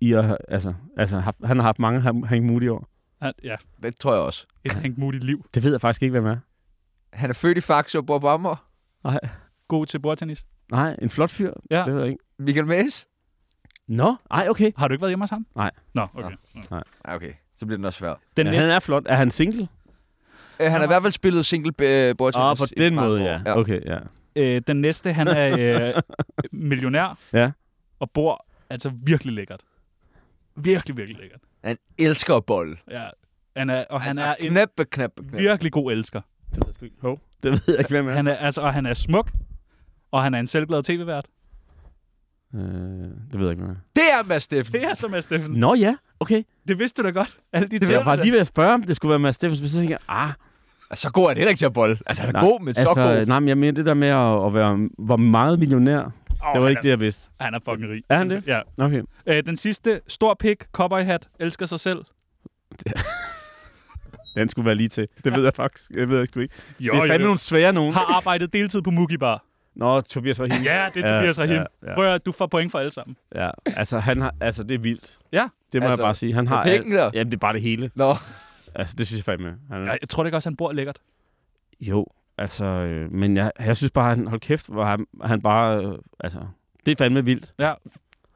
I har, altså, altså, haft- han har haft mange ham- Hank Moody år. Han, ja, Det tror jeg også. et Hank Moody liv. Det ved jeg faktisk ikke, hvem er. Han er født i Faxe og bor på Amager. God til bordtennis. Nej, en flot fyr. Ja. Det ved jeg ikke. Michael Mays? Nå, ej, okay. Har du ikke været hjemme hos ham? Nej. Nå, okay. Nå. Ah, okay. Så bliver den også svær. Den Ja, næste, han er flot. Er han single? Øh, han har i hvert fald spillet single øh, bordtennis. Ah, på i den mange måde, år. ja. Okay, ja. øh, den næste han er øh, millionær. Ja. Og bor altså virkelig lækkert. Virkelig, virkelig lækkert. Han elsker at bolle. Ja. Han er, og han Altså, er en Knæppe, knæppe, knæppe. virkelig god elsker. Det ved jeg sgu ikke. Hov. Det ved jeg ikke, hvem er. Han er, altså, og han er smuk. Og han er en selvglad tv-vært. Øh, det ved jeg ikke, hvem er. Det er Mads Steffen. Det er så Mads Steffensen. Nå ja, okay. Det vidste du da godt. Alle de Jeg ting. var lige ved at spørge, om det skulle være Mads Steffensen, men så tænkte jeg, ah, Altså, så god er han heller ikke til at bolle. Altså, han er god, men så god. altså, nej, men jeg mener det der med at, at være hvor meget millionær, oh, Åh, det var han ikke er- det, jeg vidste. Han er fucking rig. Er han det? Ja. Okay. Øh, den sidste, stor pik, cowboyhat, elsker sig selv. Den skulle være lige til. Det ved jeg faktisk. Jeg ved jeg sgu ikke. Jo, det er fandme nogle svære nogen. Har arbejdet deltid på Mugi Bar. Nå, Tobias var helt... Ja, det er Tobias Rahim. Ja, ja, Prøv at høre, du får point for alle sammen. ja. Altså, han har, altså, det er vildt. Ja. Det må Altså, jeg bare sige. Han har... pikken alt- der. Jamen, det er bare det hele. Nå, Altså, det synes jeg fandme. Han, Jeg, jeg tror da ikke også, han bor lækkert. Jo, altså, øh, men jeg, jeg synes bare, han, hold kæft, hvor han, han bare, øh, altså, det er fandme vildt.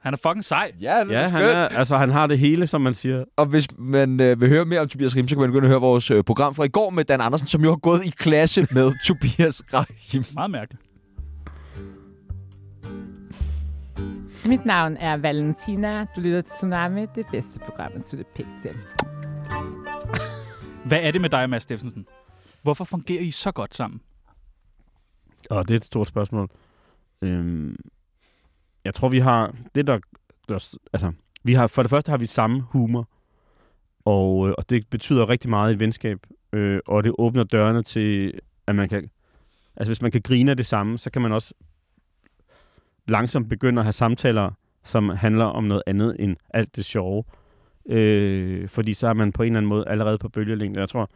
Han er fucking sej. ja, det er Ja, ja, han, skønt. er, altså, han har det hele, som man siger. Og hvis man øh, vil høre mere om Tobias Rahim, så kan man begynde at høre vores øh, program fra i går med Dan Andersen, som jo har gået i klasse med Tobias Rahim. Meget mærkeligt. Mit navn er Valentina. Du lytter til Tsunami, det bedste program, at slutte pænt til. Hvad er det med dig, Mads Steffensen? Hvorfor fungerer I så godt sammen? Og det er et stort spørgsmål. Øhm, jeg tror, vi har, det der, gør s- altså, vi har, for det første har vi samme humor, og, øh, og det betyder rigtig meget i et venskab, øh, og det åbner dørene til, at man kan, altså hvis man kan grine af det samme, så kan man også langsomt begynde at have samtaler, som handler om noget andet end alt det sjove. Øh, fordi så er man på en eller anden måde allerede på bølgelængde. Jeg tror,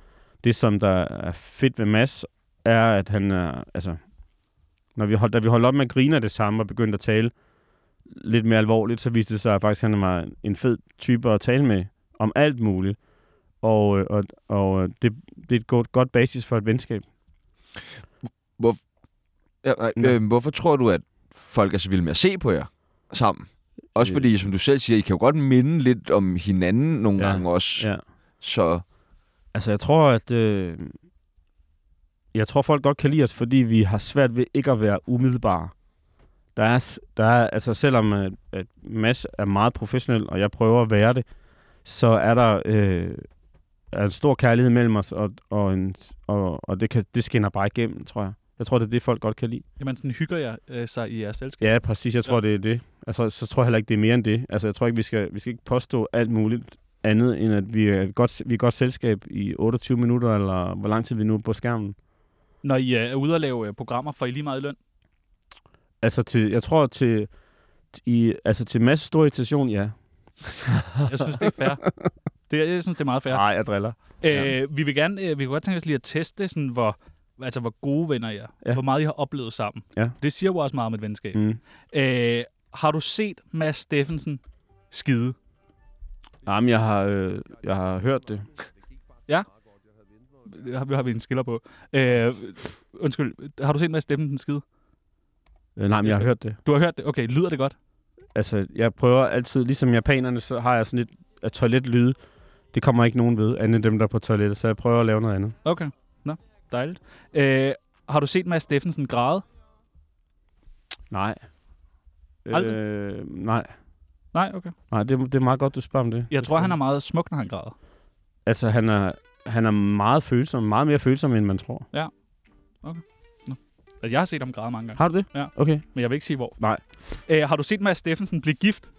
det som der er fedt ved Mads, er, at han er, altså, når vi holdt, da vi holdt op med at grine af det samme og begyndte at tale lidt mere alvorligt, så viste det sig, at faktisk han var en fed type at tale med om alt muligt. Og, øh, og, og øh, det, det er et godt, godt basis for et venskab. Ja, nej, Nå. øh, hvorfor tror du, at folk er så vilde med at se på jer sammen? Også Øh. fordi, som du selv siger, I kan jo godt minde lidt om hinanden nogle Ja, gange også. ja. Så Altså, jeg tror, at... Øh, jeg tror, folk godt kan lide os, fordi vi har svært ved ikke at være umiddelbare. Der er, s- der er altså, selvom at, at Mads er meget professionel, og jeg prøver at være det, så er der øh, er en stor kærlighed mellem os, og, og, en, og, og det, kan, det skinner bare igennem, tror jeg. Jeg tror, det er det, folk godt kan lide. Jamen, sådan hygger jeg øh, sig i jeres selskab. Ja, præcis. Jeg tror, Ja. ja. det er det. Altså, så tror jeg heller ikke, det er mere end det. Altså, jeg tror ikke, vi skal, vi skal ikke påstå alt muligt andet, end at vi er, et godt, vi er et godt selskab i 28 minutter, eller hvor lang tid vi nu er på skærmen. Når I øh, er ude og lave øh, programmer, får I lige meget i løn. Altså, til, jeg tror, til, i, altså, til masse stor irritation, ja. Jeg synes, det er fair. Det, jeg synes, det er meget fair. Nej, jeg driller. Øh, Vi vil gerne, øh, vi kunne godt tænke os lige at teste, sådan, hvor, altså, hvor gode venner I er. Ja. Hvor meget I har oplevet sammen. Ja. Det siger jo også meget om et venskab. Mm. Øh, har du set Mads Steffensen skide? Nej, men jeg har, øh, jeg har hørt det. Ja. Har, har vi en skiller på. Øh, undskyld, har du set Mads Steffensen skide? Øh, nej, men jeg har hørt det. Du har hørt det? Okay, lyder det godt? Altså, jeg prøver altid, ligesom japanerne, så har jeg sådan lidt at toiletlyde. Det kommer ikke nogen ved, andet end dem, der er på toilettet, så jeg prøver at lave noget andet. Okay, nå, dejligt. Øh, har du set Mads Steffensen græde? Nej. Aldrig? Øh, nej. Nej, okay. Nej, det, det er meget godt, du spørger om det. Jeg tror, han er meget smuk, når han græder. Altså, han er, han er meget følsom. Meget mere følsom, end man tror. Ja. Okay. Nå. Altså, jeg har set ham græde mange gange. Har du det? Ja. Okay. Men jeg vil ikke sige, hvor. Nej. Øh, har du set Mads Steffensen blive gift?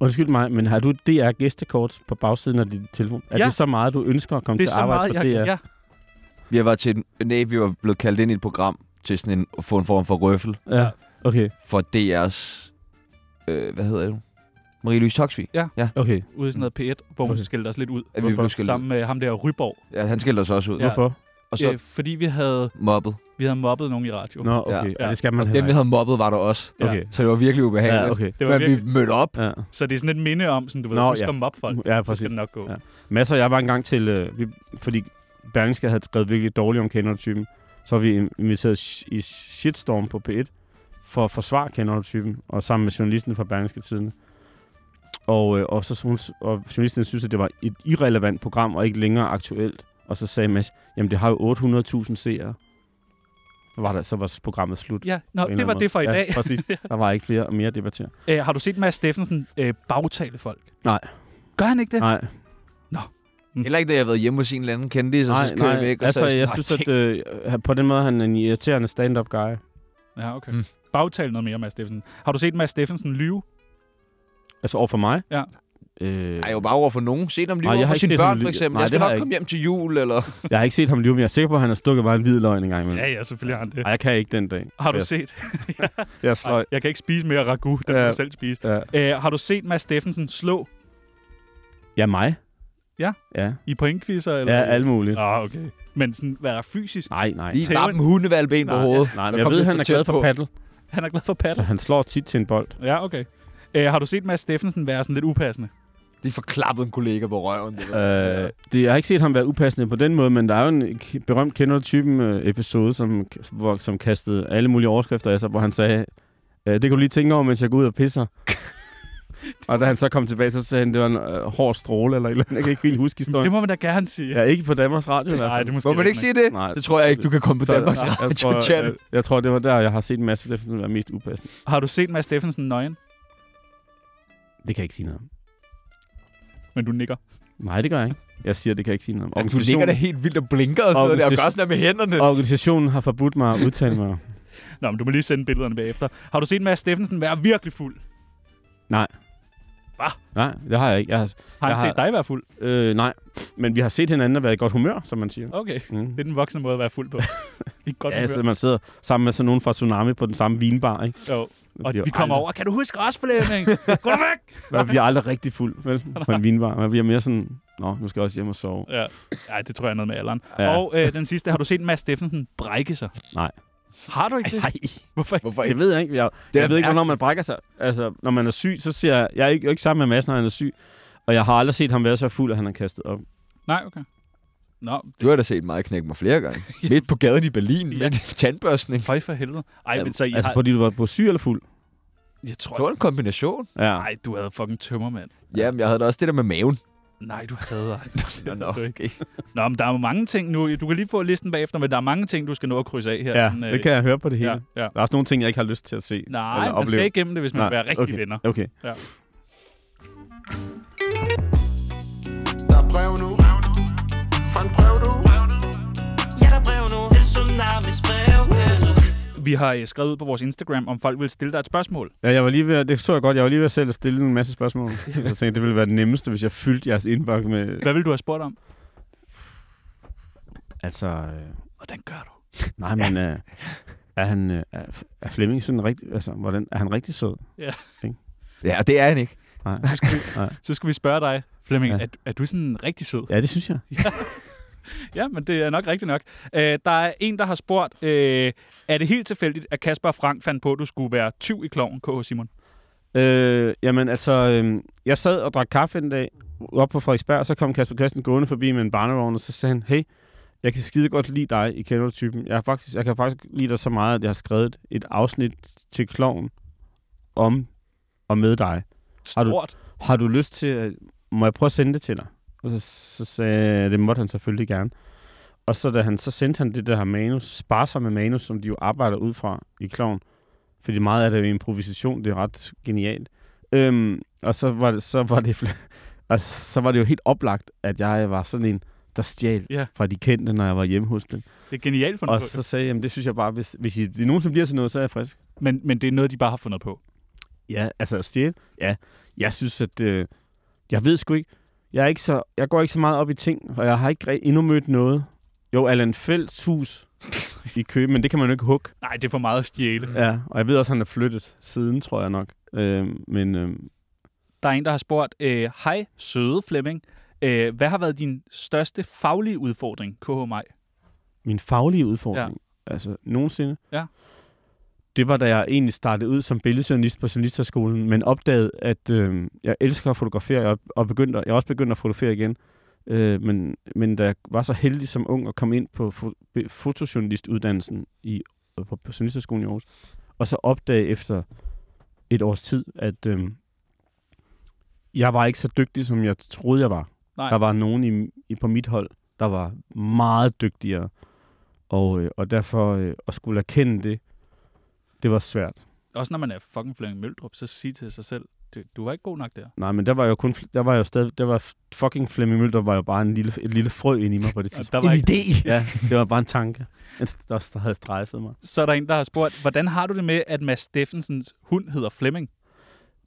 Undskyld mig, men har du et DR-gæstekort på bagsiden af din telefon? Er Ja. det så meget, du ønsker at komme Det er til så at arbejde meget, på jeg- DR? ja. Vi var, til, en- nej, vi var blevet kaldt ind i et program til sådan en, at få en form for røffel. Ja, okay. For DR's... Øh, hvad hedder du? Marie-Louise Toksvig? Ja. ja. Okay. Ude i sådan noget P1, hvor hun Okay. skældte os lidt ud. Ja, vi blev Hvorfor? skældt ud. Sammen med ham der Ryborg. Ja, han skældte os også ud. Og Og så... så øh, fordi vi havde... mobbet. Vi havde mobbet nogen i radio. Nå, okay. Ja. Ja, det skal man Og heller dem, vi ikke. havde mobbet, var der også. Ja. Okay. Så det var virkelig ubehageligt. Ja, okay. Det var Men virkelig- vi mødte op. Ja. Så det er sådan et minde om, sådan, du ved, Nå, husk ja. at mobbe folk. Ja, Så præcis. skal det nok gå. Ja. Masser, jeg var engang til, øh, vi, fordi Berlingske havde skrevet virkelig dårligt om kendertypen, så var vi inviteret sh- i shitstorm på P1 for at forsvare kendertypen, og sammen med journalisten fra Berlingske Tiden. Og, øh, og, så, hun, og journalisten synes, at det var et irrelevant program, og ikke længere aktuelt. Og så sagde Mads, jamen det har jo 800.000 seere. Var der, så var programmet slut. Ja, nå, På det en eller var anden det for i måde. dag. Ja, præcis. Der var ikke flere og mere at debattere. Øh, har du set Mads Steffensen øh, bagtale folk? Nej. Gør han ikke det? Nej. Heller ikke, da jeg har været hjemme hos en eller anden kendis, og så kører jeg væk. og altså så er jeg sådan, synes, "Nå, at tænk." øh, han- på den måde, han er en irriterende stand-up guy. Ja, okay. Mm. Bagtale noget mere, Mads Steffensen. Har du set Mads Steffensen lyve? Altså over for mig? Ja. Øh, Ej, jo bare over for nogen. Se dem lige Nej, jeg over har for ikke sine set ham børn, lyve. for eksempel. Nej, jeg skal det har nok jeg komme hjem til jul, eller... jeg har ikke set ham lyve, men jeg er sikker på, at han har stukket mig en hvid løgn engang imellem. Ja, ja, selvfølgelig har han det. Ej, jeg kan ikke den dag. Har du jeg, set? Jeg er sløj. Ej, jeg kan ikke spise mere ragu, den ja. Ja. du selv spise. Ja. Ja. Øh, har du set Mads Steffensen slå Ja, mig? Ja. Ja. i pointkvisser? Eller? Ja, alt muligt. Ah, okay. Men sådan, hvad der fysisk? Nej, nej. Lige Tæven. bare med hundevalgben på Nej, hovedet. Nej, men Der jeg kom ved, lidt han er tæt glad for på. paddle, Han er glad for så patter. han slår tit til en bold. Ja, okay. Øh, har du set Mads Steffensen være sådan lidt upassende? De får klappet en kollega på røven. Det var. Øh, det, jeg har ikke set ham være upassende på den måde, men der er jo en k- berømt kender typen øh, episode, som, hvor, som kastede alle mulige overskrifter af sig, hvor han sagde, øh, det kan du lige tænke over, mens jeg går ud og pisser. og da han så kom tilbage, så sagde han, det var en øh, hård stråle eller et eller andet. Jeg kan ikke helt huske historien. Det må man da gerne sige. Ja, ikke på Danmarks Radio i hvert Nej, fald. det er måske Må man ikke sige det? Nej. Det tror jeg ikke, du kan komme på Så- Danmarks jeg Radio tror, chat. jeg, jeg, tror, det var der, jeg har set Mads Steffensen være mest upassende. Har du set Mads Steffensen nøgen? Det kan jeg ikke sige noget om. Men du nikker. Nej, det gør jeg ikke. Jeg siger, det kan jeg ikke sige noget om. Altså, Du ligger der helt vildt og blinker og sådan noget der, og Organisation- gør sådan der med hænderne. Organisationen har forbudt mig at udtale mig. Nå, men du må lige sende billederne bagefter. Har du set Mads Steffensen være virkelig fuld? Nej. Hva? Nej, det har jeg ikke. Jeg har, Har han jeg set dig være fuld? Øh, nej, men vi har set hinanden og været i godt humør, som man siger. Okay. Mm. Det er den voksne måde at være fuld på. I godt Ja, ja, altså, man sidder sammen med sådan nogen fra Tsunami på den samme vinbar, ikke? Jo. Man Og bliver vi kommer aldrig- over. Kan du huske os, Flemming? Gå da væk! Man bliver aldrig rigtig fuld, vel? På en vinbar. Man bliver mere sådan, nå, nu skal jeg også hjem og sove. Ja. Ej, det tror jeg er noget med alderen. Ja. Og øh, den sidste. Har du set Mads Steffensen brække sig? Nej. Har du ikke det? Nej, Hvorfor ikke? Hvorfor det ikke? ved jeg ikke. Jeg, Det er jeg ved ikke, hvornår mærkeligt. man brækker sig. Altså, når man er syg, så ser jeg... Jeg er ikke, jeg er ikke sammen med Mads, når han er syg. Og jeg har aldrig set ham være så fuld, at han har kastet op. Nej, okay. Nå, Du har da set mig knække mig flere gange. Midt på gaden i Berlin, Ja. ja. med en tandbørstning. føj for helvede. Ej, men så I altså, har... fordi du var på syg eller fuld? Jeg tror... Det var en kombination. Ja. Nej, du havde fucking tømmermand. Jamen, jeg havde da også det der med maven. Nej, du havde ej. Nå, nå, Det er ikke- okay. Nå, men der er jo mange ting nu. Du kan lige få listen bagefter, men der er mange ting, du skal nå at krydse af her. Ja, Sådan, øh, det kan jeg høre på det hele. ja, ja. Der er også nogle ting, jeg ikke har lyst til at se. Nej, man skal ikke gemme det, hvis man vil være rigtig okay. venner. Okay. Der er brev nu Fra en brev nu Ja, der er brev nu til Tsunamis brevkasse. Vi har øh, skrevet ud på vores Instagram, om folk vil stille dig et spørgsmål. Ja, jeg var lige ved, at- det så jeg godt. Jeg var lige ved at selv at stille en masse spørgsmål. jeg tænkte, det ville være det nemmeste, hvis jeg fyldte jeres indbakke med... Hvad vil du have spurgt om? Altså, øh, Hvordan gør du? nej, men øh, er, han, øh, er, er Flemming sådan rigtig... Altså, hvordan, er han rigtig sød? Ja, og det er han ikke. Nej. Så skal vi spørge dig, Flemming, Ja. ja. er, er du sådan rigtig sød? Ja, det synes jeg. Ja. ja, men det er nok rigtigt nok. Øh, der er en, der har spurgt, øh, er det helt tilfældigt, at Kasper og Frank fandt på, at du skulle være tyv i kloven, K.H. Simon? Øh, jamen altså, øh, jeg sad og drak kaffe en dag op på Frederiksberg, og så kom Kasper Christen gående forbi med en barnevogn, og så sagde han, hey, jeg kan skide godt lide dig i kender du typen. Jeg, har faktisk, jeg kan faktisk lide dig så meget, at jeg har skrevet et afsnit til kloven om og med dig. Har du, Stort. har du lyst til, at, må jeg prøve at sende det til dig? Og så, så sagde jeg, det måtte han selvfølgelig gerne. Og så, da han, så sendte han det der her manus, sparsomme manus, som de jo arbejder ud fra i kloven. Fordi meget af det er jo improvisation, det er ret genialt. Øhm, og så var, det, så, var det, og så var det jo helt oplagt, at jeg var sådan en, der stjal Ja. yeah. fra de kendte, når jeg var hjemme hos dem. Det er genialt fundet Og på, så sagde jeg, jamen, det synes jeg bare, hvis, hvis I, det nogensinde bliver til noget, så er jeg frisk. Men, men det er noget, de bare har fundet på. Ja, altså at stjæle. Ja, jeg synes, at... Øh, jeg ved sgu ikke. Jeg, er ikke så, jeg går ikke så meget op i ting, og jeg har ikke re- endnu mødt noget. Jo, Allan Fælds hus i Køge, men det kan man jo ikke hugge. Nej, det er for meget at stjæle. Ja, og jeg ved også, at han er flyttet siden, tror jeg nok. Øh, men øh, Der er en, der har spurgt, øh, hej søde Flemming, øh, hvad har været din største faglige udfordring, K.H. Maj? min faglige udfordring, ja. altså nogensinde, Ja. det var, da jeg egentlig startede ud som billedjournalist på Journalisterskolen, men opdagede, at øh, jeg elsker at fotografere, og, og begyndte, at- jeg er også begyndt at fotografere igen. Øh, men, men da jeg var så heldig som ung at komme ind på fo- be- fotojournalistuddannelsen i, øh, på, på Journalisterskolen i Aarhus, og så opdagede efter et års tid, at øh, jeg var ikke så dygtig, som jeg troede, jeg var. Nej. Der var nogen i, i, på mit hold, der var meget dygtigere, og, øh, og derfor øh, at skulle erkende det, det var svært. Også når man er fucking Flemming Møldrup, så sig til sig selv, du, du var ikke god nok der. Nej, men der var jo kun, der var jo stadig, der var fucking Flemming Møldrup var jo bare en lille, et lille frø ind i mig på det Og tidspunkt. der var En ikke- idé. Ja, det var bare en tanke, en st- der, der havde strejfet mig. Så er der en, der har spurgt, hvordan har du det med, at Mads Steffensens hund hedder Flemming?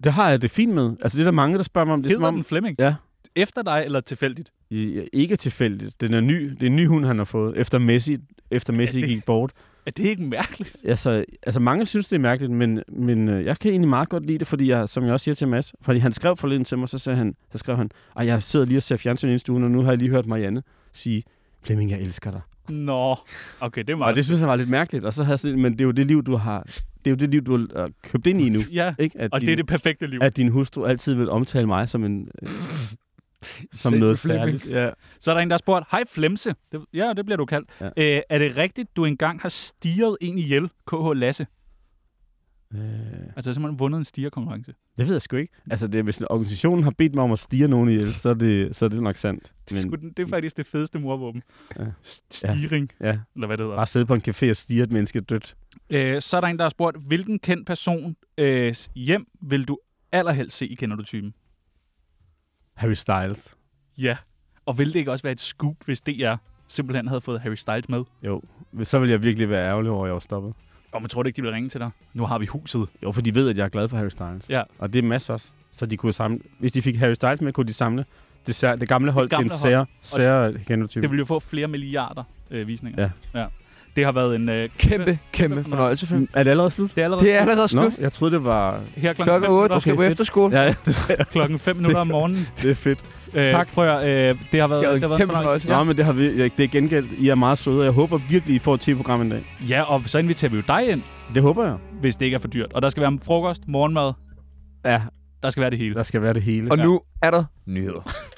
Det har jeg det fint med. Altså, det er der mange, der spørger mig om det. er Hedder som om, den Flemming? Ja. Efter dig eller tilfældigt? I- Ikke tilfældigt. Den er ny. Det er en ny hund, han har fået, efter Messi, efter Messi det- gik bort. Er det ikke mærkeligt? Altså, altså mange synes, det er mærkeligt, men, men øh, jeg kan egentlig meget godt lide det, fordi jeg, som jeg også siger til Mads, fordi han skrev forleden til mig, så, sagde han, så skrev han, at jeg sidder lige og ser fjernsyn i stuen, og nu har jeg lige hørt Marianne sige, Flemming, jeg elsker dig. Nå, okay, det er meget... Og det synes han var lidt mærkeligt, og så havde jeg sådan, men det er jo det liv, du har, det er jo det liv, du har øh, købt ind i nu. Ja, ikke? At og det er det perfekte liv. At din hustru altid vil omtale mig som en... Øh, som noget særligt. Ja. Så er der en, der har spurgt, hej Flemse. Det, ja, det bliver du kaldt. Ja. Æ, er det rigtigt, du engang har stiret en ihjel, K.H. Lasse? Øh, Altså simpelthen vundet en stierkonkurrence. det ved jeg sgu ikke. Altså, det, er, hvis organisationen har bedt mig om at stire nogen ihjel, så er det, så er det nok sandt. Det, er sgu, den- det er faktisk det fedeste morvåben. Ja. Stiring. Ja. ja. Eller hvad det hedder. Bare sidde på en café og stige et menneske dødt. Øh, så er der en, der har spurgt, hvilken kendt person øh, hjem vil du allerhelst se i Kender Du Typen? Harry Styles. Ja. Og ville det ikke også være et scoop, hvis DR simpelthen havde fået Harry Styles med? Jo, så vil jeg virkelig være ærgerlig over, at jeg var stoppet. Og man tror du ikke, de vil ringe til dig? Nu har vi huset. Jo, for de ved, at jeg er glad for Harry Styles. Ja. Og det er masser også. Så de kunne samle, hvis de fik Harry Styles med, kunne de samle det, sær, det gamle hold gamle til en hold. sære, Og sære genotype. Det vil jo få flere milliarder øh, visninger. Ja. ja. Det har været en øh, kæmpe, kæmpe fornøjelse, Flemming. Mm, Er det allerede slut? Det er allerede, Det er allerede Nå, slut. jeg troede, det var... Her klokken Klokken fem 8, minutter. du skal på Okay, fedt. efterskole. Ja, ja, det, Klokken 5 minutter om morgenen. det er fedt. Øh, Tak. Prøv at, øh, det har været, Det har været en det har været kæmpe fornøjelse. Ja. Nå, men det, har vi, det er gengældt. I er meget søde, og jeg håber virkelig, I får et 10-program en dag. Ja, og så inviterer vi jo dig ind, Det håber jeg. hvis det ikke er for dyrt. Og der skal være frokost, morgenmad, Ja, der skal være det hele. der skal være det hele. Og nu er der nyheder.